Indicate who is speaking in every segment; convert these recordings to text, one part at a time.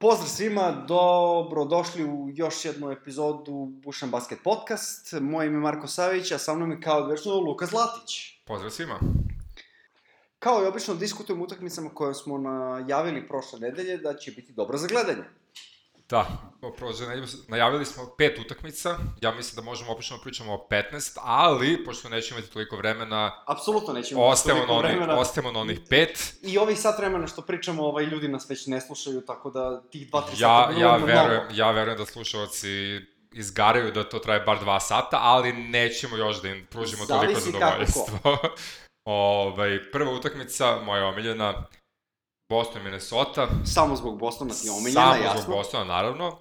Speaker 1: Pozdrav svima, dobrodošli u još jednu epizodu Bušan Basket Podcast. Moje ime je Marko Savić, a sa mnom je kao i obično Luka Zlatić.
Speaker 2: Pozdrav svima.
Speaker 1: Kao i obično diskutujemo o utakmicama koje smo najavili prošle nedelje da će biti dobro za gledanje.
Speaker 2: Da, prođe nedelju, najavili smo pet utakmica, ja mislim da možemo opično pričamo o 15, ali, pošto nećemo imati toliko vremena,
Speaker 1: Apsolutno nećemo
Speaker 2: ostajemo na,
Speaker 1: toliko
Speaker 2: onih,
Speaker 1: vremena.
Speaker 2: ostajemo na onih pet.
Speaker 1: I ovih sat vremena što pričamo, ovaj, ljudi nas već ne slušaju, tako da tih 2-3
Speaker 2: Ja,
Speaker 1: sata
Speaker 2: ja,
Speaker 1: vrlo mnogo.
Speaker 2: verujem, ja verujem da slušalci izgaraju da to traje bar dva sata, ali nećemo još da im pružimo toliko
Speaker 1: Zavisi kako
Speaker 2: zadovoljstvo. Ove, prva utakmica, moja omiljena, Boston Minnesota,
Speaker 1: Samo zbog Bostona ti Znači, je omenjena,
Speaker 2: Samo
Speaker 1: jasno.
Speaker 2: zbog Bostona, naravno.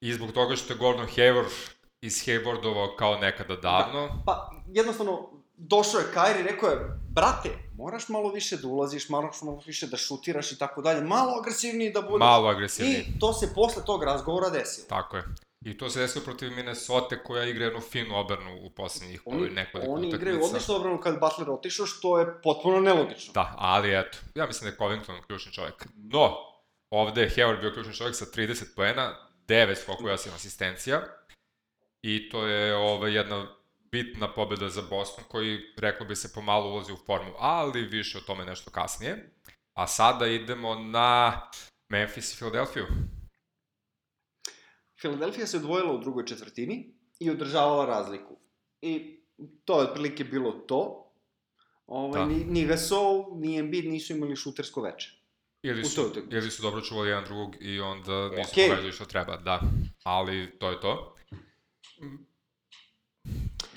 Speaker 2: I zbog toga što je Gordon Hayward ishaywardovao kao nekada davno. Da.
Speaker 1: Pa, jednostavno, došao je Kairi, rekao je, brate, moraš malo više da ulaziš, moraš malo više da šutiraš i tako dalje, malo agresivniji da budeš.
Speaker 2: Malo agresivniji. I...
Speaker 1: I to se posle tog razgovora desilo.
Speaker 2: Tako je. I to se desilo protiv Minnesota koja igra jednu finu obrnu u poslednjih
Speaker 1: Oni,
Speaker 2: ovih nekoliko
Speaker 1: oni
Speaker 2: utakmica.
Speaker 1: igraju odlično obranu kad je Butler otišao, što je potpuno nelogično.
Speaker 2: Da, ali eto, ja mislim da je Covington ključni čovjek. No, ovde je Hayward bio ključni čovjek sa 30 poena, 9 skokova i 8 asistencija. I to je ova jedna bitna pobeda za Boston koji, reklo bi se, pomalo ulazi u formu, ali više o tome nešto kasnije. A sada idemo na Memphis i Filadelfiju.
Speaker 1: Filadelfija se odvojila u drugoj četvrtini i održavala razliku. I to je otprilike bilo to. Ovaj,
Speaker 2: Da.
Speaker 1: ni, ni Gasol, ni Embiid nisu imali šutersko veče.
Speaker 2: Ili
Speaker 1: U
Speaker 2: su,
Speaker 1: toj utakmici.
Speaker 2: ili su dobro čuvali jedan drugog i onda nisu
Speaker 1: Okej.
Speaker 2: okay. povezali što treba, da. Ali to je to.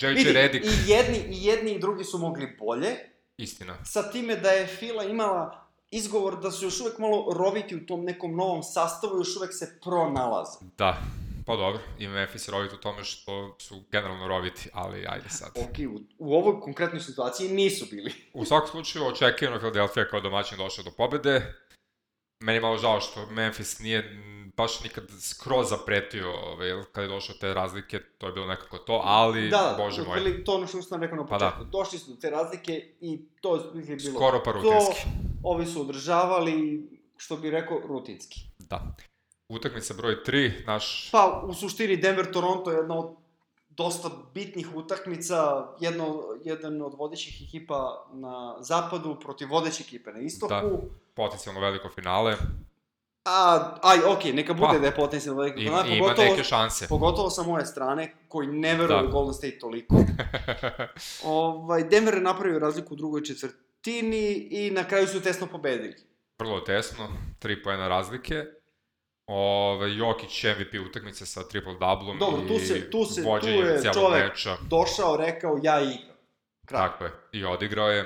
Speaker 2: J.J.
Speaker 1: Mm. Vidi,
Speaker 2: Redick,
Speaker 1: I jedni, i jedni i drugi su mogli bolje,
Speaker 2: istina.
Speaker 1: sa time da je Fila imala izgovor da su još uvek malo roviti u tom nekom novom sastavu, još uvek se pronalaze.
Speaker 2: Da, pa dobro, i Memphis je rovit u tome što su generalno roviti, ali ajde sad.
Speaker 1: Ok, u, u ovoj konkretnoj situaciji nisu bili.
Speaker 2: U svakom slučaju, očekivano Philadelphia kao domaćin došao do pobede. Meni je malo žao što Memphis nije m, baš nikad skroz zapretio, ovaj, jel, kad je došao te razlike, to je bilo nekako to, ali, da, bože moj,
Speaker 1: otprilike to ono što sam rekao na
Speaker 2: Pa da.
Speaker 1: početku. Došli su do te razlike i to je otprilike bilo.
Speaker 2: skoro pa rutinski.
Speaker 1: Ovi su održavali, što bi rekao, rutinski.
Speaker 2: Da. Utakmica broj 3, naš...
Speaker 1: Pa, u suštini Denver-Toronto je jedna od dosta bitnih utakmica, jedno, jedan od vodećih ekipa na zapadu protiv vodeće ekipe na istoku.
Speaker 2: Da. potencijalno veliko finale
Speaker 1: A, aj, okej, neka bude
Speaker 2: Pa,
Speaker 1: da je potencijalno velika
Speaker 2: i,
Speaker 1: finala,
Speaker 2: i ima
Speaker 1: pogotovo,
Speaker 2: neke šanse.
Speaker 1: pogotovo sa moje strane, koji ne veruju
Speaker 2: Da.
Speaker 1: da. Golden State toliko. ovaj, Denver je napravio razliku u drugoj četvrtini i na kraju su tesno pobedili.
Speaker 2: vrlo tesno, 3 poena razlike. Ove, Jokić MVP utakmice sa triple doublom
Speaker 1: Dobro,
Speaker 2: i
Speaker 1: tu se- tu se- tu
Speaker 2: vođenjem
Speaker 1: je
Speaker 2: celog
Speaker 1: čovek
Speaker 2: meča.
Speaker 1: Došao, rekao, ja igram. Kraj.
Speaker 2: Tako je. I odigrao je.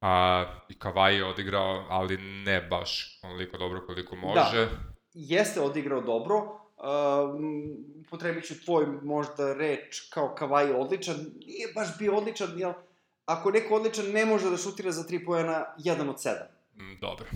Speaker 2: A, I Kavaj je odigrao, ali ne baš onoliko dobro
Speaker 1: Da.
Speaker 2: koliko može.
Speaker 1: Jeste odigrao dobro, Um, upotrebit ću tvoj možda reč kao Kavaj odličan, nije baš bio odličan, jel? Ako je neko odličan ne može da šutira za 3 pojena 1 od 7.
Speaker 2: Mm, Dobro.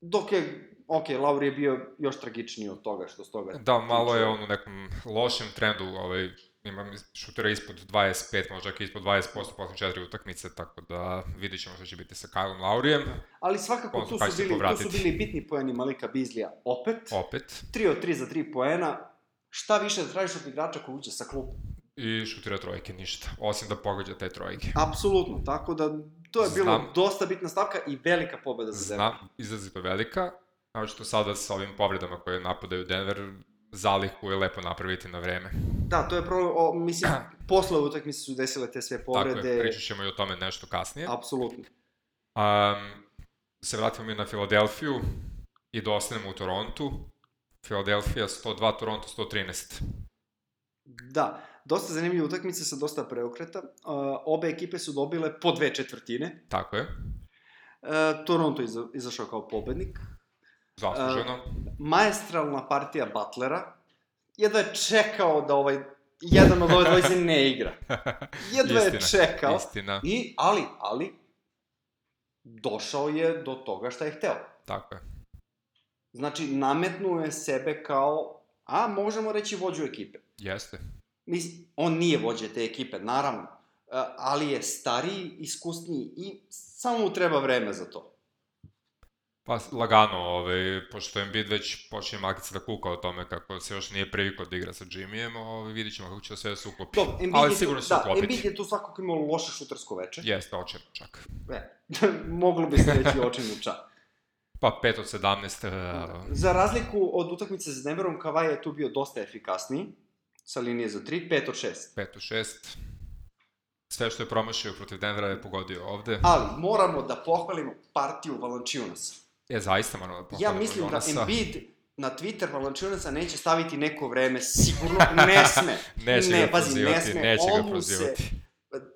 Speaker 1: Dok je, ok, Lauri je bio još tragičniji od toga što s toga.
Speaker 2: Da, malo je on u nekom lošem trendu, ovaj, imam šutera ispod 25, možda čak i ispod 20% posle četiri utakmice, tako da vidit ćemo što će biti sa Kylom Laurijem.
Speaker 1: Ali svakako
Speaker 2: Odnosno,
Speaker 1: tu
Speaker 2: kad će
Speaker 1: su,
Speaker 2: se
Speaker 1: bili, tu su
Speaker 2: pa povratiti.
Speaker 1: bili bitni poeni Malika Bizlija opet.
Speaker 2: Opet.
Speaker 1: 3 od 3 za 3 poena. Šta više da tražiš od igrača koji uđe sa klupa?
Speaker 2: I šutira trojke, ništa. Osim da pogađa te trojke.
Speaker 1: Apsolutno, tako da to je bilo
Speaker 2: Znam.
Speaker 1: dosta bitna stavka i velika pobeda za Denver.
Speaker 2: Znam, izrazito velika, znači što sada sa ovim povredama koje napadaju Denver, zalihu je lepo napraviti na vreme.
Speaker 1: Da, to je problem, o, mislim, posle utakmice su desile te sve
Speaker 2: Tako je,
Speaker 1: povrede.
Speaker 2: pričat ćemo i o tome nešto kasnije.
Speaker 1: Apsolutno.
Speaker 2: Um, se vratimo mi na Filadelfiju i da ostanemo u Torontu. Filadelfija 102, Toronto 113.
Speaker 1: Da, dosta zanimljiva utakmica sa dosta preokreta. Uh, obe ekipe su dobile po dve četvrtine.
Speaker 2: Tako je,
Speaker 1: Uh, Toronto je iza, izašao kao pobednik.
Speaker 2: zasluženo.
Speaker 1: Maestralna partija Butlera. Jedva je čekao da ovaj jedan od ove dvojice ne igra. Jedva je
Speaker 2: Istina,
Speaker 1: čekao.
Speaker 2: Istina,
Speaker 1: I, ali, ali, došao je do toga šta je hteo.
Speaker 2: tako je.
Speaker 1: Znači, nametnuo je sebe kao, a možemo reći vođu ekipe.
Speaker 2: Jeste.
Speaker 1: Mislim, on nije vođa te ekipe, naravno, e, ali je stariji, iskusniji i samo mu treba vreme za to.
Speaker 2: Pa lagano, ovaj, pošto Embiid već počinje makice da kuka o tome kako se još nije privikao da igra sa Jimmyjem, ovaj, vidit ćemo kako će sve da se uklopi.
Speaker 1: Dobro, Embiid
Speaker 2: Ali
Speaker 1: je tu-
Speaker 2: sigurno će se
Speaker 1: da,
Speaker 2: uklopiti.
Speaker 1: Embiid je tu svakako imao loše šutarsko veče.
Speaker 2: Jeste, očem čak.
Speaker 1: E, moglo bi se reći očin muča.
Speaker 2: Pa 5 od 17, da.
Speaker 1: Za razliku od utakmice sa Denverom, Kavaj je tu bio dosta efikasniji sa linije za 3, 5 od 6.
Speaker 2: 5 od 6. Sve što je promašio protiv Denvera je pogodio ovde.
Speaker 1: Ali moramo da pohvalimo partiju Valančiunasa.
Speaker 2: E, zaista moramo da
Speaker 1: Ja
Speaker 2: pohvalimo
Speaker 1: mislim da
Speaker 2: Jonasa.
Speaker 1: Embiid na Twitter Valančiunasa neće staviti neko vreme, sigurno ne sme.
Speaker 2: Neće
Speaker 1: ne,
Speaker 2: ga
Speaker 1: pazi, ne
Speaker 2: prozivati,
Speaker 1: sme,
Speaker 2: neće
Speaker 1: on mu
Speaker 2: ga
Speaker 1: se-
Speaker 2: prozivati.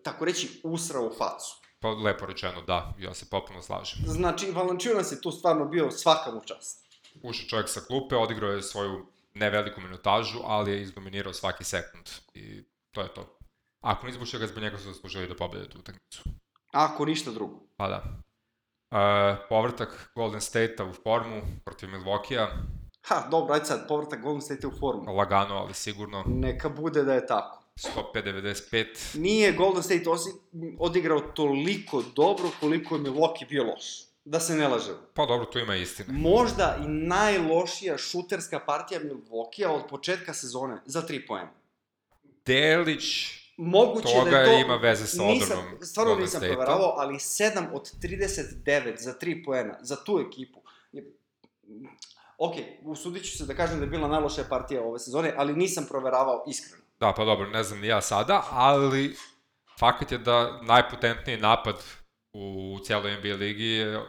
Speaker 1: Tako reći, usra u facu.
Speaker 2: Pa lepo rečeno, da, ja se popuno slažem.
Speaker 1: Znači, Valančiunas je tu stvarno bio svaka mu čast.
Speaker 2: Ušao čovjek sa klupe, odigrao je svoju ne veliku minutažu, ali je izdominirao svaki sekund. I to je to. Ako ne izbušio ga zbog njega su zaslužili da pobede tu utakmicu.
Speaker 1: Ako ništa drugo.
Speaker 2: Pa da. E, povrtak Golden State-a u formu protiv Milwaukee-a,
Speaker 1: Ha, dobro, ajde sad, povratak Golden State u formu.
Speaker 2: lagano, ali sigurno,
Speaker 1: Neka bude da je tako.
Speaker 2: 105-95,
Speaker 1: nije Golden State osi, odigrao toliko dobro koliko je Milwaukee bio loš. Da se ne lažemo.
Speaker 2: pa dobro, tu ima istine.
Speaker 1: Možda i najlošija šuterska partija Milwaukee od početka sezone za 3 poena.
Speaker 2: Delić,
Speaker 1: Moguće da
Speaker 2: Toga
Speaker 1: je to...
Speaker 2: ima veze sa
Speaker 1: Nisam,
Speaker 2: odbranom
Speaker 1: stvarno
Speaker 2: Golden
Speaker 1: nisam
Speaker 2: State-a.
Speaker 1: proveravao, ali 7 od 39 za 3 poena, za tu ekipu. je- Ok, usudit ću se da kažem da je bila najlošija partija ove sezone, ali nisam proveravao iskreno.
Speaker 2: Da, pa dobro, ne znam ni ja sada, ali fakat je da najpotentniji napad u cijeloj NBA ligi je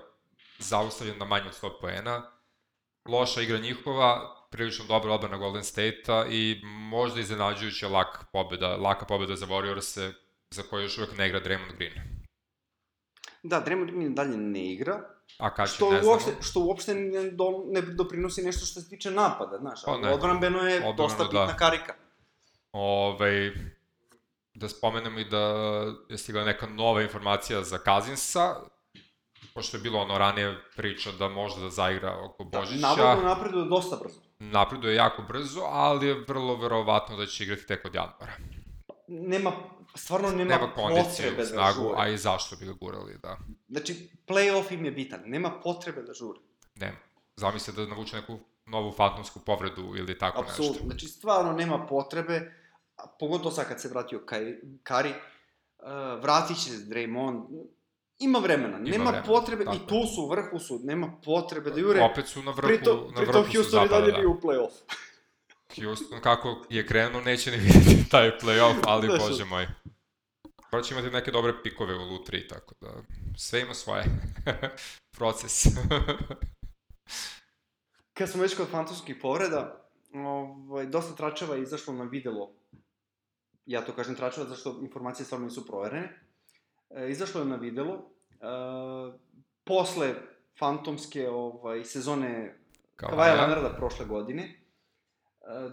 Speaker 2: zaustavljen na manje od 100 poena. Loša igra njihova, prilično dobra obrana Golden State-a i možda iznenađujuća lak pobjeda, laka pobjeda za Warriors-e za koju još uvek ne igra Draymond Green.
Speaker 1: Da, Draymond Green dalje ne igra,
Speaker 2: A kad će,
Speaker 1: što
Speaker 2: ne znamo.
Speaker 1: uopšte, što uopšte ne, do, ne doprinosi nešto što se tiče napada, znaš,
Speaker 2: Pa
Speaker 1: ali
Speaker 2: ne.
Speaker 1: odbranbeno je
Speaker 2: Odbrambeno
Speaker 1: dosta
Speaker 2: da.
Speaker 1: bitna karika.
Speaker 2: Ovaj, da spomenem i da je stigla neka nova informacija za Kazinsa, pošto je bilo ono ranije priča da možda da zaigra oko
Speaker 1: Da,
Speaker 2: Božića.
Speaker 1: navodno napreduje dosta brzo.
Speaker 2: napreduje jako brzo, ali je vrlo verovatno da će igrati tek od januara.
Speaker 1: Nema, stvarno nema,
Speaker 2: Nema kondiciju,
Speaker 1: potrebe da
Speaker 2: snagu,
Speaker 1: žure.
Speaker 2: a i zašto bi ga gurali, da.
Speaker 1: Znači, play-off im je bitan, nema potrebe da žure.
Speaker 2: Nema. Zamisli da navuče neku novu fatonsku povredu ili tako Absolutno.
Speaker 1: Apsolutno,
Speaker 2: Pa
Speaker 1: znači
Speaker 2: nešto.
Speaker 1: stvarno nema potrebe, a pogotovo sad kad se vratio Kari, Kari uh, vratit će se Draymond, ima vremena,
Speaker 2: Ima
Speaker 1: nema
Speaker 2: vremena,
Speaker 1: potrebe,
Speaker 2: tako
Speaker 1: i
Speaker 2: je.
Speaker 1: tu su, u vrhu su, nema potrebe da jure.
Speaker 2: Opet su na vrhu,
Speaker 1: Pritom,
Speaker 2: na vrhu
Speaker 1: pritom
Speaker 2: su
Speaker 1: Houston i
Speaker 2: zapada,
Speaker 1: dalje
Speaker 2: da.
Speaker 1: bio u play-off.
Speaker 2: Houston kako je krenuo, neće ni vidjeti taj play-off, ali
Speaker 1: Da,
Speaker 2: bože
Speaker 1: što-
Speaker 2: moj. Prvo će imati neke dobre pikove u lutri, tako da sve ima svoje. Proces.
Speaker 1: Kad smo već kod fantomskih povreda, ovaj, dosta tračeva je izašlo na videlo. Ja to kažem tračeva, zašto informacije stvarno nisu proverene. E, izašlo je na videlo. E, posle fantomske ovaj, sezone
Speaker 2: Kao
Speaker 1: Kavaja
Speaker 2: ja.
Speaker 1: Leonarda prošle godine, e,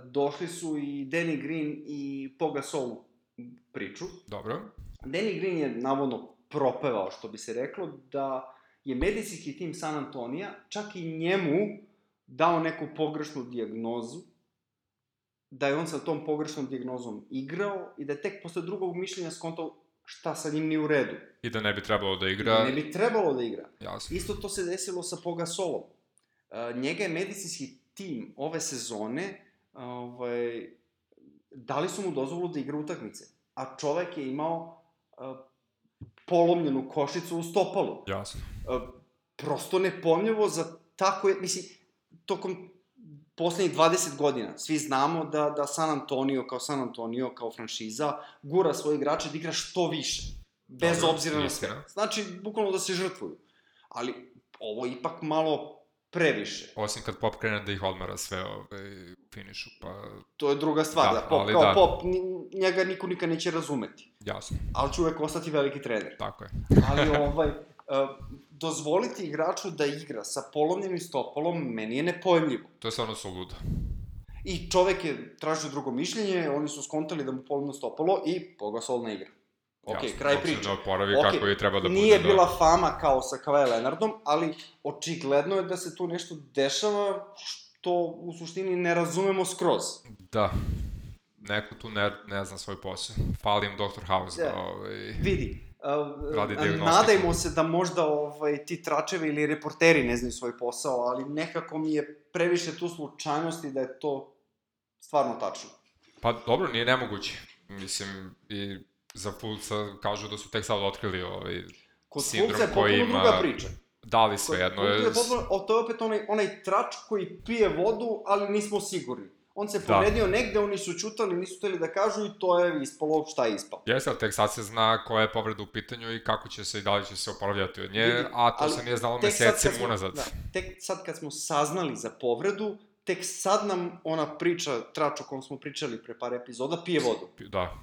Speaker 1: došli su i Danny Green i Pogasol u priču.
Speaker 2: Dobro.
Speaker 1: Danny Green je navodno propevao, što bi se reklo, da je medicinski tim San Antonija čak i njemu dao neku pogrešnu dijagnozu, da je on sa tom pogrešnom dijagnozom igrao i da je tek posle drugog mišljenja skontao šta sa njim nije u redu.
Speaker 2: I da ne bi trebalo da
Speaker 1: I
Speaker 2: igra,
Speaker 1: da Ne bi trebalo da igra.
Speaker 2: jasno.
Speaker 1: Isto to se desilo sa Pogasolom. E, Njega je medicinski tim ove sezone, ovaj, dali su mu dozvolu da igra utakmice, a čovek je imao e, polomljenu košicu u stopalu.
Speaker 2: Jasno.
Speaker 1: E, Prosto nepomljivo za tako je, mislim, tokom poslednjih 20 godina, svi znamo da, da San Antonio kao San Antonio, kao franšiza, gura svoje igrače da igra što više, bez
Speaker 2: Dobro,
Speaker 1: obzira na sve.
Speaker 2: istina.
Speaker 1: Znači, bukvalno da se žrtvuju. Ali ovo je ipak malo previše.
Speaker 2: Osim kad Pop krene da ih odmara sve ovaj, u finišu, pa
Speaker 1: To je druga stvar, da,
Speaker 2: Da,
Speaker 1: da pop,
Speaker 2: ali
Speaker 1: kao da.
Speaker 2: da.
Speaker 1: pop, ni- njega niko nikad neće razumeti.
Speaker 2: jasno,
Speaker 1: Ali će uvek ostati veliki trener.
Speaker 2: tako je.
Speaker 1: ali ovaj, e, dozvoliti igraču da igra sa polomljenim stopolom meni je nepojmljivo.
Speaker 2: To je stvarno suludo.
Speaker 1: I čovek je tražio drugo mišljenje, oni su skontali da mu polomljeno stopalo i Pogasol ne igra. Ok,
Speaker 2: Jasno,
Speaker 1: kraj
Speaker 2: dok se
Speaker 1: priče.
Speaker 2: Ne oporavi
Speaker 1: Ok,
Speaker 2: kako je treba da bude.
Speaker 1: Nije
Speaker 2: da-
Speaker 1: bila fama kao sa Kawhi Leonardom, ali očigledno je da se tu nešto dešava što u suštini ne razumemo skroz.
Speaker 2: Da. Neko tu ne, ne zna svoj posao. Fali im Dr. House.
Speaker 1: Da.
Speaker 2: Da. Ovaj,
Speaker 1: Vidi,
Speaker 2: Radi
Speaker 1: Uh,
Speaker 2: dijagnostiku.
Speaker 1: nadajmo se da možda ovaj, ti tračevi ili reporteri ne znaju svoj posao, ali nekako mi je previše tu slučajnosti da je to stvarno tačno.
Speaker 2: Pa dobro, nije nemoguće. Mislim, i za Fulca kažu da su tek sad otkrili ovaj,
Speaker 1: Kod
Speaker 2: Sindrom
Speaker 1: Fulca je
Speaker 2: koji
Speaker 1: potpuno
Speaker 2: ima-
Speaker 1: druga priča.
Speaker 2: da li
Speaker 1: Kod
Speaker 2: svejedno
Speaker 1: Fulca
Speaker 2: je...
Speaker 1: je potpuno, o, to je opet onaj, onaj trač koji pije vodu, ali nismo sigurni. On se povredio da. negde, oni su čutali, nisu hteli da kažu i to je ispalo šta je ispalo.
Speaker 2: Jeste, ali tek sad se zna koja je povreda u pitanju i kako će se i da li će se oporavljati od nje,
Speaker 1: Vidi,
Speaker 2: a to
Speaker 1: ali
Speaker 2: se nije znalo
Speaker 1: tek sad kad
Speaker 2: mesecima
Speaker 1: smo-
Speaker 2: unazad.
Speaker 1: Da, tek sad kad smo saznali za povredu, tek sad nam ona priča, trač o kom smo pričali pre par epizoda, pije vodu.
Speaker 2: Da.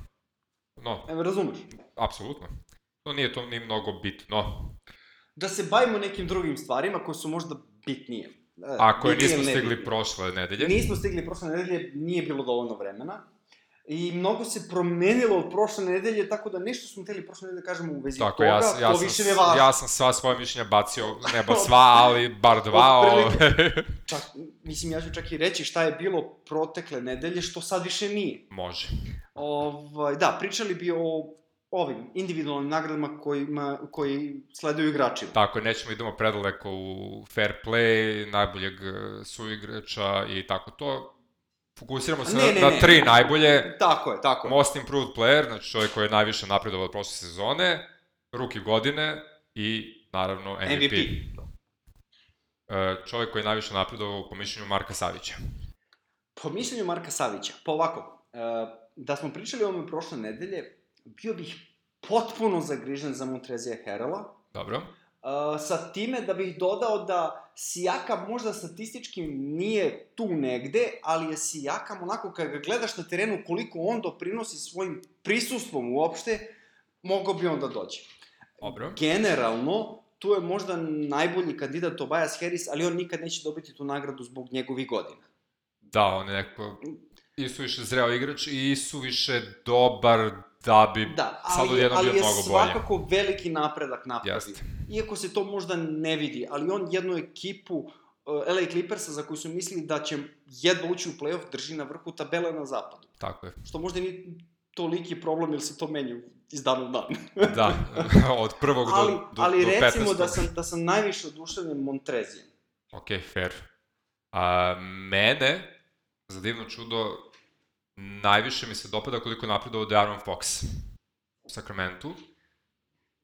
Speaker 2: No,
Speaker 1: Evo, razumeš?
Speaker 2: apsolutno. To nije to ni mnogo bitno.
Speaker 1: Da se bavimo nekim drugim stvarima koje su možda bitnije. E,
Speaker 2: A koje
Speaker 1: bitnije
Speaker 2: nismo
Speaker 1: ili
Speaker 2: stigli
Speaker 1: nebitnije.
Speaker 2: prošle nedelje.
Speaker 1: Nismo stigli prošle nedelje, nije bilo dovoljno vremena. I mnogo se promenilo od prošle nedelje, tako da nešto smo hteli prošle nedelje da kažemo u vezi
Speaker 2: Tako,
Speaker 1: toga,
Speaker 2: ja, s- ja,
Speaker 1: to
Speaker 2: sam,
Speaker 1: više
Speaker 2: s-
Speaker 1: ne važno.
Speaker 2: ja sam sva svoja mišljenja bacio, ne ba sva, ali bar dva.
Speaker 1: Otprilike.
Speaker 2: Ove,
Speaker 1: Čak, mislim, ja ću čak i reći šta je bilo protekle nedelje, što sad više nije.
Speaker 2: može.
Speaker 1: Ovaj, da, pričali bi o ovim individualnim nagradama kojima, koji sleduju igračima.
Speaker 2: Tako, je, nećemo idemo predaleko u fair play, najboljeg e, suigrača i tako to. Fokusiramo se
Speaker 1: Ne,
Speaker 2: na,
Speaker 1: ne,
Speaker 2: na
Speaker 1: ne.
Speaker 2: tri najbolje.
Speaker 1: Tako je, tako je.
Speaker 2: Most improved player, znači čovjek koji je najviše napredovao od prošle sezone, ruki godine i naravno MVP.
Speaker 1: MVP.
Speaker 2: MVP. E, Čovjek koji je najviše napredovao po mišljenju Marka Savića.
Speaker 1: Po mišljenju Marka Savića, pa ovako, e, da smo pričali o ovome prošle nedelje, bio bih potpuno zagrižen za Montrezija Herala,
Speaker 2: Dobro.
Speaker 1: Uh, sa time da bih dodao da Sijaka možda statistički nije tu negde, ali je Sijakam onako kad ga gledaš na terenu koliko on doprinosi svojim prisustvom uopšte, mogao bi on da dođe.
Speaker 2: Dobro.
Speaker 1: Generalno, tu je možda najbolji kandidat Tobias Harris, ali on nikad neće dobiti tu nagradu zbog njegovih godina.
Speaker 2: Da, on je neko i suviše zreo igrač i suviše dobar da bi
Speaker 1: Da,
Speaker 2: sad
Speaker 1: ali,
Speaker 2: odjednom
Speaker 1: ali
Speaker 2: bio
Speaker 1: je
Speaker 2: mnogo bolje.
Speaker 1: svakako veliki napredak napravio.
Speaker 2: Jeste.
Speaker 1: Iako se to možda ne vidi, ali on jednu ekipu uh, LA Clippersa za koju su mislili da će jedva ući u playoff drži na vrhu tabele na zapadu.
Speaker 2: Tako je.
Speaker 1: Što možda nije toliki problem jer se to menja iz dana u dan.
Speaker 2: Da, od prvog
Speaker 1: ali,
Speaker 2: do, do,
Speaker 1: ali
Speaker 2: do 15.
Speaker 1: recimo da sam, da sam najviše oduševljen Montrezijem.
Speaker 2: Ok, fair. A, mene, za divno čudo, najviše mi se dopada koliko je napredovao Darren Fox u Sacramento.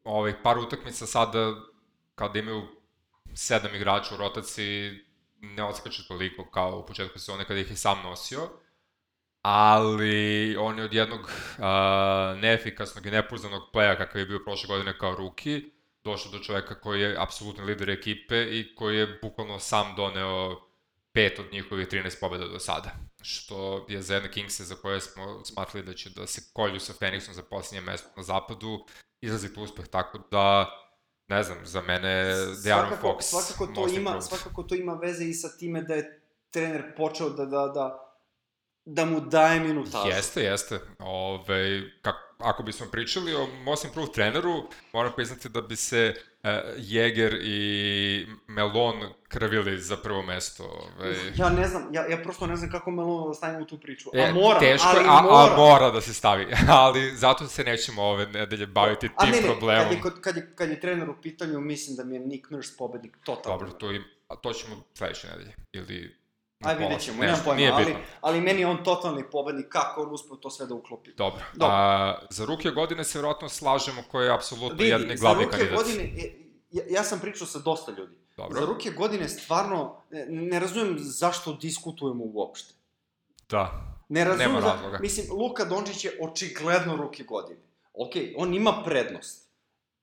Speaker 2: Ovaj, par utakmica sada, kada imaju sedam igrača u rotaciji, ne odskače toliko kao u početku sezone kada ih je sam nosio, ali on je od jednog a, neefikasnog i nepouznanog playa kakav je bio prošle godine kao ruki, došao do čoveka koji je apsolutni lider ekipe i koji je bukvalno sam doneo pet od njihovih 13 pobjeda do sada. Što je za jedne Kingse za koje smo smatrali da će da se kolju sa Phoenixom za posljednje mesto na zapadu, izrazit uspeh, tako da ne znam, za mene De'Aaron
Speaker 1: Svakako-
Speaker 2: Eh, Fox
Speaker 1: svakako to
Speaker 2: most
Speaker 1: ima
Speaker 2: improved.
Speaker 1: svakako to ima veze i sa time da je trener počeo da da da da mu daje minutažu.
Speaker 2: Jeste, jeste. Ove, kak, ako bismo pričali o Most Improved treneru, moram priznati da bi se uh, Jäger i Melon krvili za prvo mesto. Ove.
Speaker 1: Uf, Ja ne znam, ja, ja prosto ne znam kako Melona da stavimo u tu priču.
Speaker 2: E,
Speaker 1: a mora,
Speaker 2: teško,
Speaker 1: ali
Speaker 2: a,
Speaker 1: mora.
Speaker 2: a mora da se stavi. ali zato se nećemo ove nedelje baviti
Speaker 1: A
Speaker 2: tim
Speaker 1: ne, ne,
Speaker 2: problemom.
Speaker 1: Kad je, kod- kad, je, kad je trener u pitanju, mislim da mi je Nick Nurse pobednik totalno.
Speaker 2: Dobro, to, im, a to ćemo sledeće nedelje. Ili na
Speaker 1: Aj, vidjet
Speaker 2: pola,
Speaker 1: ćemo,
Speaker 2: nešto,
Speaker 1: nemam pojma,
Speaker 2: nije
Speaker 1: ali,
Speaker 2: bitno.
Speaker 1: ali meni je on totalni pobednik, kako on uspeo to sve da uklopi.
Speaker 2: Dobro.
Speaker 1: Dobro.
Speaker 2: A, za ruke godine se vjerojatno slažemo koji je apsolutno jedni
Speaker 1: Vidi, za
Speaker 2: glavni
Speaker 1: ruke
Speaker 2: kandidat.
Speaker 1: godine, e, ja, ja sam pričao sa dosta ljudi,
Speaker 2: Dobro.
Speaker 1: za ruke godine stvarno, e, ne razumijem zašto diskutujemo uopšte.
Speaker 2: Da.
Speaker 1: Ne razumem,
Speaker 2: Nema
Speaker 1: za-
Speaker 2: razloga.
Speaker 1: Mislim, Luka Dončić je očigledno ruki godine. Ok, on ima prednost.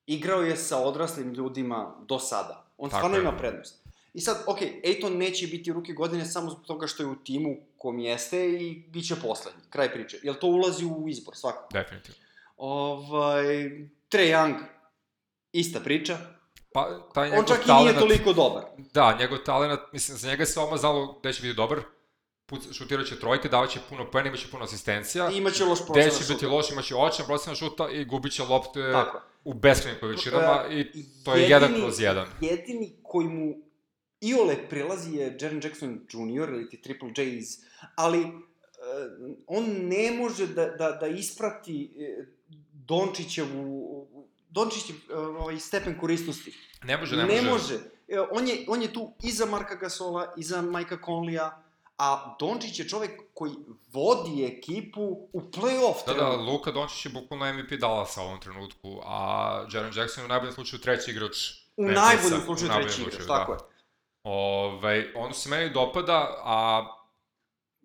Speaker 1: Igrao je sa odraslim ljudima do sada. On Tako
Speaker 2: Tako
Speaker 1: stvarno
Speaker 2: je.
Speaker 1: je. ima prednost. I sad, ok, Ejton neće biti ruki godine samo zbog toga što je u timu kom jeste i bit će poslednji. Kraj priče. Jel to ulazi u izbor, svakako?
Speaker 2: Definitivno.
Speaker 1: Ovaj, Trae Young, ista priča.
Speaker 2: Pa, taj
Speaker 1: On
Speaker 2: njegov
Speaker 1: čak i nije
Speaker 2: talenat-
Speaker 1: toliko dobar.
Speaker 2: Da, njegov talenat, mislim, za njega se oma znalo gde će biti dobar, Puc, šutirat će trojke, davat će puno poena, imaće puno asistencija,
Speaker 1: I imaće loš
Speaker 2: gde
Speaker 1: procenat
Speaker 2: će biti
Speaker 1: šuta.
Speaker 2: loš, imaće očan procenat šuta i gubit će lopte
Speaker 1: Tako je.
Speaker 2: u beskrajnim količinama i to je jedan kroz jedan.
Speaker 1: Jedini koji mu iole prilazi je Jaren Jackson Jr. ili ti Triple J iz, ali eh, on ne može da, da, da isprati eh, e, Dončićevu Dončić je e, ovaj, stepen korisnosti.
Speaker 2: Ne može,
Speaker 1: Ne
Speaker 2: ne
Speaker 1: može.
Speaker 2: može.
Speaker 1: Ne može. E, On je, on je tu iza Marka Gasola, iza Majka Conleya, a Dončić je čovek koji vodi ekipu u play-off.
Speaker 2: Da, da,
Speaker 1: trenutno.
Speaker 2: Luka Dončić je bukvalno MVP Dallasa u ovom trenutku, a Jaren Jackson je u najboljem slučaju treći igrač.
Speaker 1: U
Speaker 2: Memphisa,
Speaker 1: najboljem slučaju
Speaker 2: u najboljem
Speaker 1: treći igrač,
Speaker 2: slučaju, da.
Speaker 1: tako je.
Speaker 2: Ovaj, ono se meni dopada, a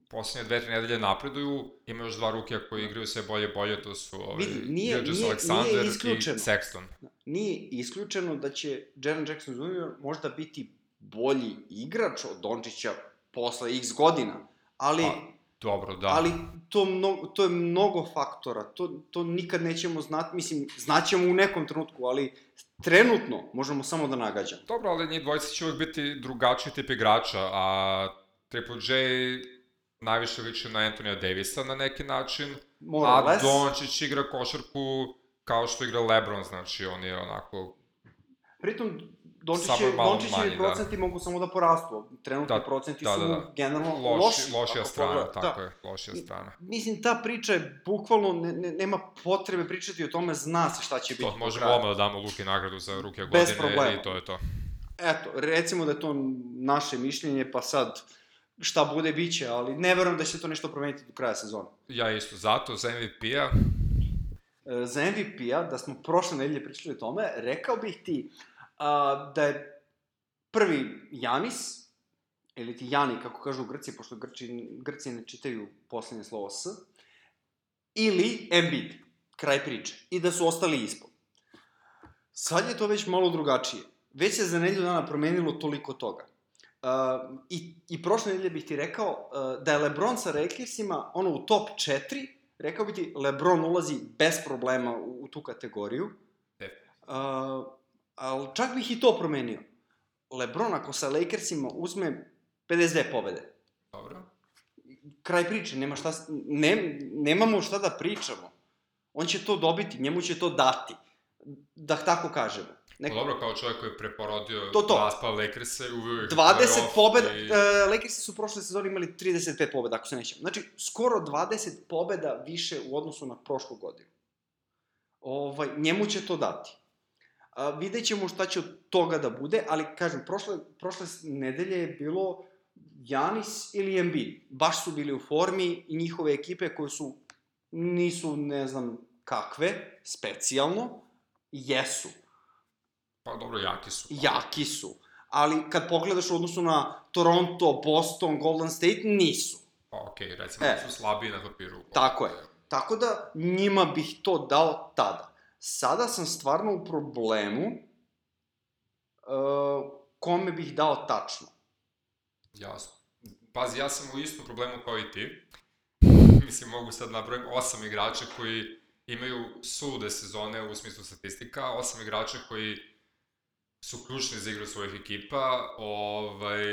Speaker 2: poslednje dve, tri nedelje napreduju, ima još dva rukija koji igraju sve bolje i bolje, to su ovaj,
Speaker 1: Vidi, nije-
Speaker 2: Gilgeous
Speaker 1: nije-
Speaker 2: Alexander
Speaker 1: nije isključeno.
Speaker 2: i Sexton.
Speaker 1: Nije isključeno da će Jaren Jackson Jr. možda biti bolji igrač od Dončića posle x godina, ali...
Speaker 2: Pa, Dobro, da.
Speaker 1: ali to, mno, to je mnogo faktora, to, to nikad nećemo znati, mislim, znaćemo u nekom trenutku, ali trenutno možemo samo da nagađamo.
Speaker 2: Dobro, ali njih dvojica će uvek biti drugačiji tip igrača, a Triple J najviše liči na Antonija Davisa na neki način,
Speaker 1: More or
Speaker 2: a
Speaker 1: less.
Speaker 2: Dončić igra košarku kao što igra Lebron, znači on je onako...
Speaker 1: Pritom, Dončić
Speaker 2: Samo
Speaker 1: je,
Speaker 2: je malo
Speaker 1: Dončić
Speaker 2: manji, da.
Speaker 1: procenti mogu samo da porastu. Trenutni
Speaker 2: Da,
Speaker 1: procenti
Speaker 2: da,
Speaker 1: su
Speaker 2: da, da.
Speaker 1: generalno
Speaker 2: Loš,
Speaker 1: loši.
Speaker 2: lošija
Speaker 1: ako
Speaker 2: strana,
Speaker 1: pogledate.
Speaker 2: tako je, lošija strana.
Speaker 1: Mislim, ta priča je bukvalno, ne, ne, nema potrebe pričati o tome, zna se šta će biti.
Speaker 2: To,
Speaker 1: do
Speaker 2: možemo
Speaker 1: kraja.
Speaker 2: odmah da damo Luki nagradu za ruke
Speaker 1: Bez problema.
Speaker 2: godine i to je to.
Speaker 1: Eto, recimo da je to naše mišljenje, pa sad šta bude, bit će, ali ne verujem da će to nešto promeniti do kraja sezone.
Speaker 2: Ja isto zato, za P-a, MVP-a,
Speaker 1: E, za MVP-a, da smo prošle nedelje pričali o tome, rekao bih ti a, da je prvi Janis, ili ti Jani, kako kažu u Grci, pošto Grči, Grci ne čitaju poslednje slovo S, ili Embiid, kraj priče, i da su ostali ispod. Sad je to već malo drugačije. Već se za nedelju dana promenilo toliko toga. Uh, i, I prošle nedelje bih ti rekao uh, da je Lebron sa Raklersima ono u top 4, rekao bih ti Lebron ulazi bez problema u, u tu kategoriju. Uh, ali čak bih i to promenio. Lebron ako sa Lakersima uzme 52 pobede,
Speaker 2: dobro.
Speaker 1: kraj priče, nema šta, s- ne, nemamo šta da pričamo. On će to dobiti, njemu će to dati. Da tako kažemo.
Speaker 2: Neko... Dobro, kao čovjek koji je preporodio
Speaker 1: To, to.
Speaker 2: raspa Lakersa i uveo ih
Speaker 1: 20
Speaker 2: u play-off
Speaker 1: pobeda,
Speaker 2: i-
Speaker 1: i... e, Lakersi su prošle sezone imali 35 pobeda, ako se nećem. Znači, skoro 20 pobeda više u odnosu na prošlu godinu. Ovaj, njemu će to dati. A, vidjet ćemo šta će od toga da bude, ali kažem, prošle, prošle s- nedelje je bilo Janis ili Embiid. Baš su bili u formi i njihove ekipe koje su, nisu ne znam kakve, specijalno, jesu
Speaker 2: Pa dobro, jaki su.
Speaker 1: jaki su. Ali kad pogledaš u odnosu na Toronto, Boston, Golden State, nisu.
Speaker 2: Pa okej, okay, recimo
Speaker 1: E.
Speaker 2: e. su slabiji na papiru.
Speaker 1: Tako je. Tako da njima bih to dao tada. Sada sam stvarno u problemu uh, kome bih dao tačno.
Speaker 2: Jasno. Pazi, ja sam u istom problemu kao i ti. Mislim, mogu sad nabrojim osam igrača koji imaju sude sezone u smislu statistika, osam igrača koji su ključni za igru svojih ekipa, ovaj,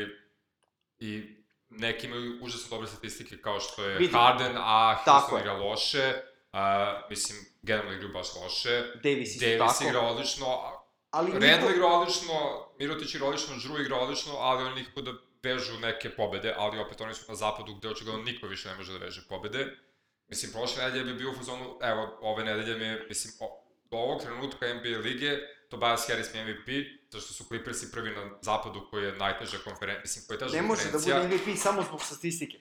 Speaker 2: i neki imaju užasno dobre statistike kao što je
Speaker 1: Vidi.
Speaker 2: Harden, a
Speaker 1: Tako
Speaker 2: Houston
Speaker 1: je.
Speaker 2: igra loše, a, mislim, generalno igraju baš loše,
Speaker 1: Davis isto
Speaker 2: Davis
Speaker 1: tako.
Speaker 2: igra odlično, a-
Speaker 1: ali
Speaker 2: Randall
Speaker 1: niko-
Speaker 2: igra odlično, Mirotić igra odlično, Drew igra odlično, ali oni nikako da vežu neke pobede, ali opet oni su na zapadu gde očigledno niko više ne može da veže pobede. Mislim, prošle nedelje bi bio u fazonu, evo, ove nedelje mi je, mislim, o, do ovog trenutka NBA lige, Tobias Harris mi je MVP, zato što su Clippersi prvi na zapadu koji je najteža konferencija, mislim, koja je teža
Speaker 1: ne može da
Speaker 2: konferencija.
Speaker 1: bude MVP samo zbog statistike.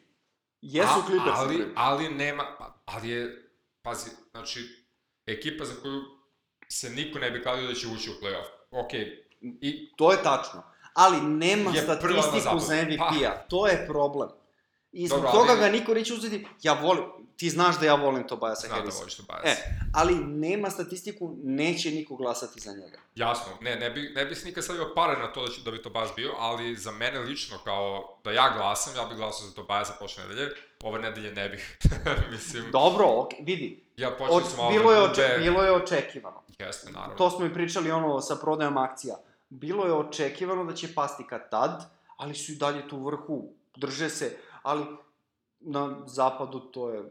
Speaker 1: Jesu
Speaker 2: A-
Speaker 1: Clippers.
Speaker 2: ali,
Speaker 1: napravili.
Speaker 2: ali nema, pa- ali je, pazi, znači, ekipa za koju se niko ne bi kladio da će ući u play-off. Ok, i
Speaker 1: To je tačno. Ali nema
Speaker 2: Je prva na
Speaker 1: statistiku
Speaker 2: zapadu.
Speaker 1: za MVP-a. To je problem. I zbog
Speaker 2: Dobro, ali-
Speaker 1: toga ga niko neće uzeti. Ja volim, ti znaš da ja volim Tobajasa
Speaker 2: Znam da
Speaker 1: Harrisa.
Speaker 2: voliš Tobias.
Speaker 1: E, ali nema statistiku, neće niko glasati za njega.
Speaker 2: Jasno, ne, ne bi, ne bi se nikad stavio pare na to da, će, da bi Tobias bio, ali za mene lično, kao da ja glasam, ja bih glasao za Tobiasa prošle nedelje, ove nedelje ne bih. Mislim,
Speaker 1: Dobro, ok, vidi,
Speaker 2: ja počeli
Speaker 1: od,
Speaker 2: sam malo...
Speaker 1: bilo, je
Speaker 2: da
Speaker 1: oče,
Speaker 2: gube-
Speaker 1: bilo je očekivano.
Speaker 2: Jeste, naravno.
Speaker 1: To smo i pričali ono sa prodajom akcija. Bilo je očekivano da će pasti kad tad, ali su i dalje tu u vrhu, drže se, ali na zapadu to je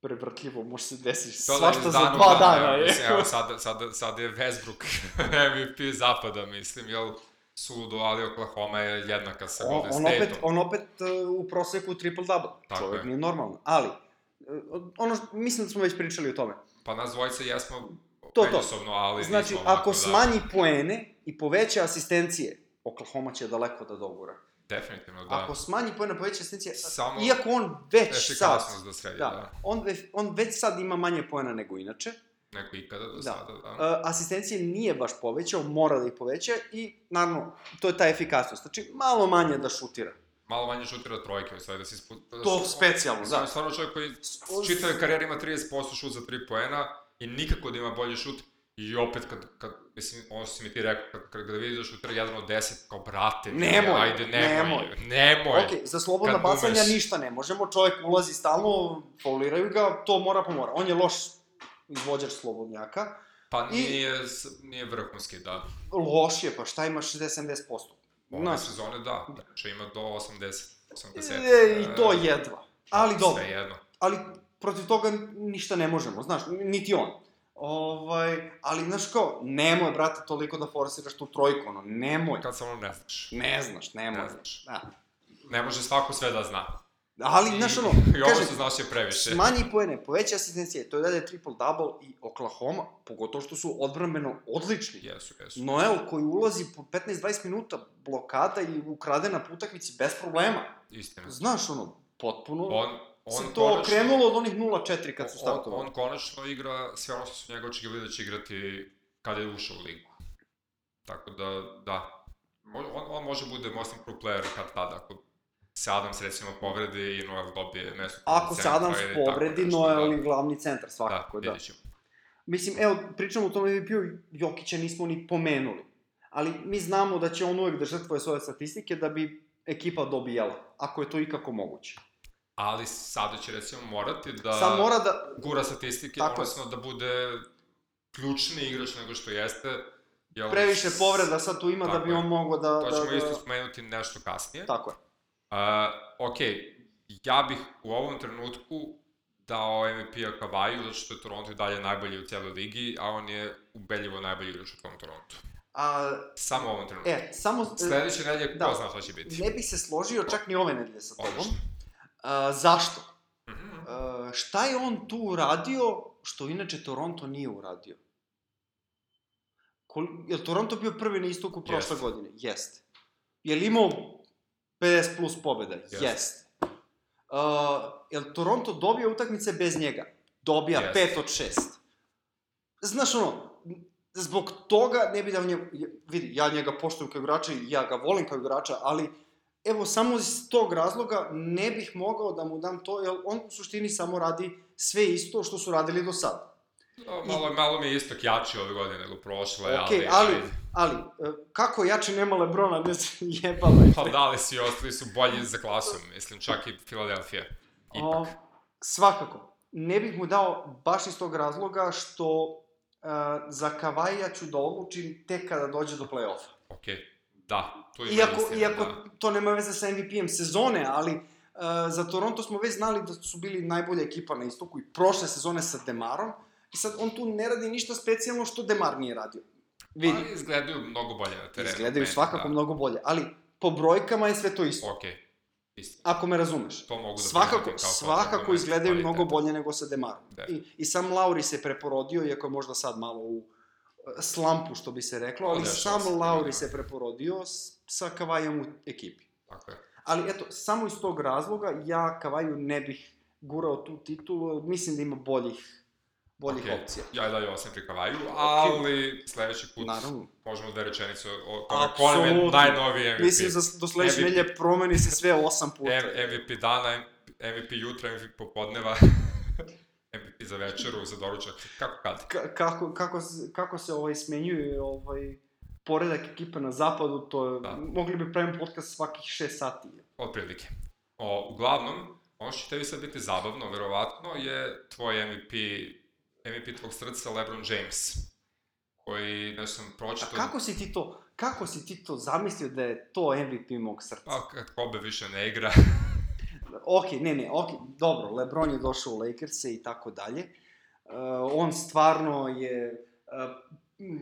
Speaker 1: prevrtljivo, može se desiti
Speaker 2: To da
Speaker 1: svašta
Speaker 2: iz
Speaker 1: za
Speaker 2: dana u
Speaker 1: dva
Speaker 2: dan,
Speaker 1: dana.
Speaker 2: evo,
Speaker 1: je.
Speaker 2: Mislim, evo, sad, sad, sad je Westbrook MVP zapada, mislim, jel sudo, ali Oklahoma je jednaka sa
Speaker 1: on,
Speaker 2: Golden
Speaker 1: on
Speaker 2: State-om.
Speaker 1: opet, on opet uh, u proseku triple-double.
Speaker 2: Tako
Speaker 1: Čovjek
Speaker 2: je.
Speaker 1: nije e, normalan. Ali, uh, ono, što- mislim da smo već pričali o tome.
Speaker 2: Pa nas dvojica jesmo
Speaker 1: to, to.
Speaker 2: međusobno, ali
Speaker 1: Znači,
Speaker 2: nismo ovako da.
Speaker 1: ako smanji poene i poveća asistencije, Oklahoma će daleko da dogura.
Speaker 2: Da, definitivno, da.
Speaker 1: Da. Ako smanji poene, poveća asistencije,
Speaker 2: Samo
Speaker 1: iako on već sad,
Speaker 2: efikasnost da sredi, da.
Speaker 1: da, on, ve- on već sad ima manje poena nego inače,
Speaker 2: Neko ikada do
Speaker 1: Da.
Speaker 2: sada, da.
Speaker 1: Uh, asistencije nije baš povećao, mora da ih poveća i naravno, to je ta efikasnost. Znači, malo manje da šutira.
Speaker 2: Malo manje šutira trojke, u stvari da si... ispo-
Speaker 1: To specijalno,
Speaker 2: Da.
Speaker 1: da.
Speaker 2: je Stvarno čovjek koji
Speaker 1: S-
Speaker 2: čitave karijere ima 30% šut za 3 poena i nikako da ima bolji šut. I opet, kad, kad mislim, ono što si mi ti rekao, kad, kad ga vidiš da šutira jedan od 10, kao brate,
Speaker 1: Nemoj,
Speaker 2: ajde, nemoj,
Speaker 1: nemoj.
Speaker 2: nemoj, nemoj.
Speaker 1: Ok, za slobodna
Speaker 2: Kad
Speaker 1: bacanja
Speaker 2: umeš.
Speaker 1: ništa ne možemo, čovjek ulazi stalno, fauliraju ga, to mora pomora. On je loš izvođač slobodnjaka,
Speaker 2: Pa
Speaker 1: I-
Speaker 2: nije, s- nije vrhunski, da.
Speaker 1: loš je, pa šta ima 60-70%?
Speaker 2: Ove
Speaker 1: Znaš,
Speaker 2: sezone, da. Znači ima do 80, 80.
Speaker 1: e, i to
Speaker 2: e,
Speaker 1: jedva. Ali dobro,
Speaker 2: Sve jedno.
Speaker 1: ali protiv toga ništa ne možemo, znaš, niti on. Ovaj, ali, znaš kao, nemoj, brate, toliko da forsiraš tu trojku, ono, nemoj.
Speaker 2: Kad samo ne znaš.
Speaker 1: Ne znaš, nemoj.
Speaker 2: Ne znaš.
Speaker 1: Da.
Speaker 2: Ne može svako sve da zna.
Speaker 1: Ali,
Speaker 2: I-
Speaker 1: znaš, ono,
Speaker 2: I ovo
Speaker 1: kažem,
Speaker 2: što znaš je previše.
Speaker 1: smanji poene, poveća asistencije, to je dalje triple-double i Oklahoma, pogotovo što su odbranbeno odlični.
Speaker 2: Jesu, jesu.
Speaker 1: Noel koji ulazi po 15-20 minuta blokada i ukrade na utakmici bez problema.
Speaker 2: Istina.
Speaker 1: Znaš, ono, potpuno
Speaker 2: On, on
Speaker 1: se to okrenulo od onih 0-4 kad su startovali.
Speaker 2: On, on konačno igra sve ono što su njega očekivali da će igrati kada je ušao u ligu. Tako da, da. Mo- On, on može da bude most improved player kad tada, ako se Adams recimo povredi i Noel dobije mesto.
Speaker 1: Ako
Speaker 2: u
Speaker 1: se
Speaker 2: centru
Speaker 1: Adams
Speaker 2: ili tako
Speaker 1: povredi,
Speaker 2: nešto,
Speaker 1: Noel je glavni centar,
Speaker 2: da,
Speaker 1: svakako, da.
Speaker 2: da. vidjet ćemo.
Speaker 1: Mislim, evo, pričamo o tom MVP-u, Jokića nismo ni pomenuli. Ali mi znamo da će on uvek da žrtvoje svoje statistike da bi ekipa dobijala, ako je to ikako moguće.
Speaker 2: Ali sada će recimo morati da...
Speaker 1: Da. Sad mora da...
Speaker 2: gura statistike,
Speaker 1: Tako je.
Speaker 2: odnosno da bude ključni igrač nego što jeste. Jel,
Speaker 1: Previše povreda sad tu ima da
Speaker 2: Tako
Speaker 1: bi
Speaker 2: je.
Speaker 1: on mogao da...
Speaker 2: To ćemo
Speaker 1: da, da...
Speaker 2: isto spomenuti nešto kasnije.
Speaker 1: Tako je.
Speaker 2: A, ok, ja bih u ovom trenutku dao MVP-a Kavaju, zato što je Toronto i dalje najbolji u cijeloj ligi, a on je ubedljivo najbolji igrač u tom Torontu.
Speaker 1: A,
Speaker 2: Samo u ovom trenutku.
Speaker 1: e, samo...
Speaker 2: Sledeće nedelje, ko
Speaker 1: da.
Speaker 2: zna šta će biti.
Speaker 1: Ne bih se složio čak ni ove nedelje sa tobom.
Speaker 2: Odlično.
Speaker 1: A, zašto?
Speaker 2: Mhm.
Speaker 1: E, šta je on tu uradio što inače Toronto nije uradio? Kol, je li Toronto bio prvi na istoku prošle
Speaker 2: Jeste.
Speaker 1: godine? Jeste. Je li imao 50 plus pobjeda? Jeste.
Speaker 2: Jeste.
Speaker 1: Jeste. Uh, je li Toronto dobio utakmice bez njega? Dobija
Speaker 2: Jeste.
Speaker 1: 5 od 6. Znaš ono, zbog toga ne bi da dao njemu, vidi, ja njega poštujem kao igrača i ja ga volim kao igrača, ali evo samo iz tog razloga ne bih mogao da mu dam to, jer on u suštini samo radi sve isto što su radili do sada.
Speaker 2: O, Malo, malo mi je istok jači ove godine nego prošle,
Speaker 1: Okej,
Speaker 2: ali...
Speaker 1: ali- Ali, e, kako jače nema Lebrona, ne znam, jebalo je.
Speaker 2: Pa da li svi ostali su bolji za klasom, mislim, čak i Filadelfija. Ipak.
Speaker 1: O, svakako. Ne bih mu dao baš iz tog razloga što e, za Kavaja ću da odlučim tek kada dođe do play-offa.
Speaker 2: Okej, da, tu ima
Speaker 1: Iako,
Speaker 2: istina,
Speaker 1: iako
Speaker 2: da.
Speaker 1: to nema veze sa MVP-em sezone, ali uh, za Toronto smo već znali da su bili najbolja ekipa na istoku i prošle sezone sa Demarom. I sad on tu ne radi ništa specijalno što Demar nije radio. Vidi,
Speaker 2: Ali izgledaju mnogo bolje na terenu.
Speaker 1: izgledaju
Speaker 2: Pa, meni,
Speaker 1: svakako
Speaker 2: da.
Speaker 1: mnogo bolje, ali po brojkama je sve to isto,
Speaker 2: Okej, isto.
Speaker 1: ako me razumeš.
Speaker 2: To mogu da
Speaker 1: svakako,
Speaker 2: prihvatim kao
Speaker 1: svakako
Speaker 2: argument
Speaker 1: izgledaju mnogo
Speaker 2: kvaliteta.
Speaker 1: bolje nego sa Demarom.
Speaker 2: Da.
Speaker 1: I, I sam Lauri se preporodio, iako je možda sad malo u e, slampu, što bi se reklo, ali
Speaker 2: Odešao se,
Speaker 1: sam Lauri
Speaker 2: da.
Speaker 1: se preporodio s, sa Kavajem u ekipi.
Speaker 2: Tako je.
Speaker 1: Ali eto, samo iz tog razloga ja Kavaju ne bih gurao tu titulu, mislim da ima boljih, boljih
Speaker 2: Okej.
Speaker 1: okay. opcija.
Speaker 2: Ja i dalje osam pri Kavaju, ali sledeći put
Speaker 1: Naravno.
Speaker 2: možemo da je rečenicu o tome ko nam je
Speaker 1: Apsolutno.
Speaker 2: najnoviji MVP.
Speaker 1: Mislim za do sledeće
Speaker 2: MVP.
Speaker 1: nelje promeni se sve osam puta.
Speaker 2: M- MVP dana, MVP jutra, MVP popodneva, MVP za večeru, za doručak, kako kad.
Speaker 1: Ka- kako, kako, s- kako se ovaj smenjuje ovaj poredak ekipe na zapadu, to je,
Speaker 2: Da.
Speaker 1: mogli bi pravim podcast svakih 6 sati.
Speaker 2: Otprilike. O, uglavnom, ono što će tebi sad biti zabavno, verovatno, je tvoj MVP, MVP tvog srca, LeBron James, koji, nešto sam
Speaker 1: A
Speaker 2: pročito...
Speaker 1: kako si ti to, kako si ti to zamislio da je to MVP mog srca?
Speaker 2: Pa, kad Kobe više ne igra,
Speaker 1: Ok, ne, ne, ok, dobro, Lebron je došao u Lakers-e i tako dalje. Uh, on stvarno je uh, mm,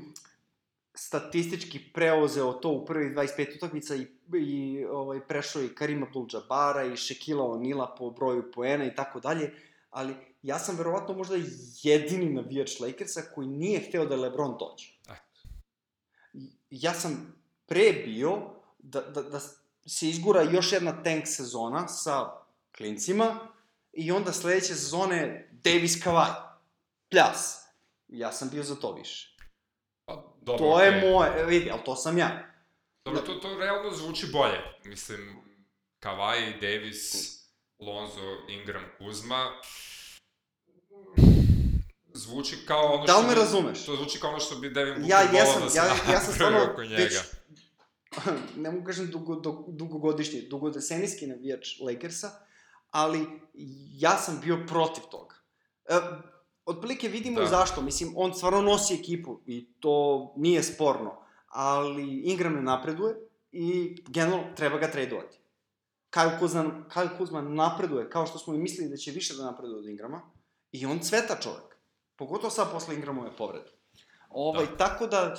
Speaker 1: statistički preuzeo to u prvi 25 utakmica i, i ovaj, prešao i Karima Abdul-Jabara i Shaquilla O'Neala po broju poena i tako dalje, ali ja sam verovatno možda jedini navijač Lakersa koji nije hteo da LeBron dođe.
Speaker 2: Ah.
Speaker 1: Ja sam pre bio da, da, da se izgura još jedna tank sezona sa klincima i onda sledeće sezone Davis Kawhi. Pljas. Ja sam bio za to više.
Speaker 2: Pa, dobro,
Speaker 1: to je
Speaker 2: okej.
Speaker 1: moje, e, vidi, ali to sam ja.
Speaker 2: Dobro, to, to realno zvuči bolje. Mislim, Kawhi, Davis, Lonzo, Ingram, Kuzma. Zvuči kao ono
Speaker 1: Da
Speaker 2: što...
Speaker 1: li me razumeš?
Speaker 2: To zvuči kao ono što bi Devin Booker
Speaker 1: Ja
Speaker 2: volao
Speaker 1: jesam,
Speaker 2: da se
Speaker 1: ja, ja sam
Speaker 2: napravi
Speaker 1: stvarno
Speaker 2: oko njega.
Speaker 1: već, ne mogu kažem dugo, dugo, dugogodišnji, dugodesenijski navijač Lakersa, ali ja sam bio protiv toga. E, otprilike vidimo
Speaker 2: Da.
Speaker 1: da. zašto, mislim, on stvarno nosi ekipu i to nije sporno, ali Ingram ne napreduje i generalno treba ga tradovati. Kyle Kuzma, Kyle Kuzma napreduje, kao što smo i mislili da će više da napreduje od Ingrama, i on cveta čovek. Pogotovo sad posle Ingramove povrede. Ovaj, da. Tako da,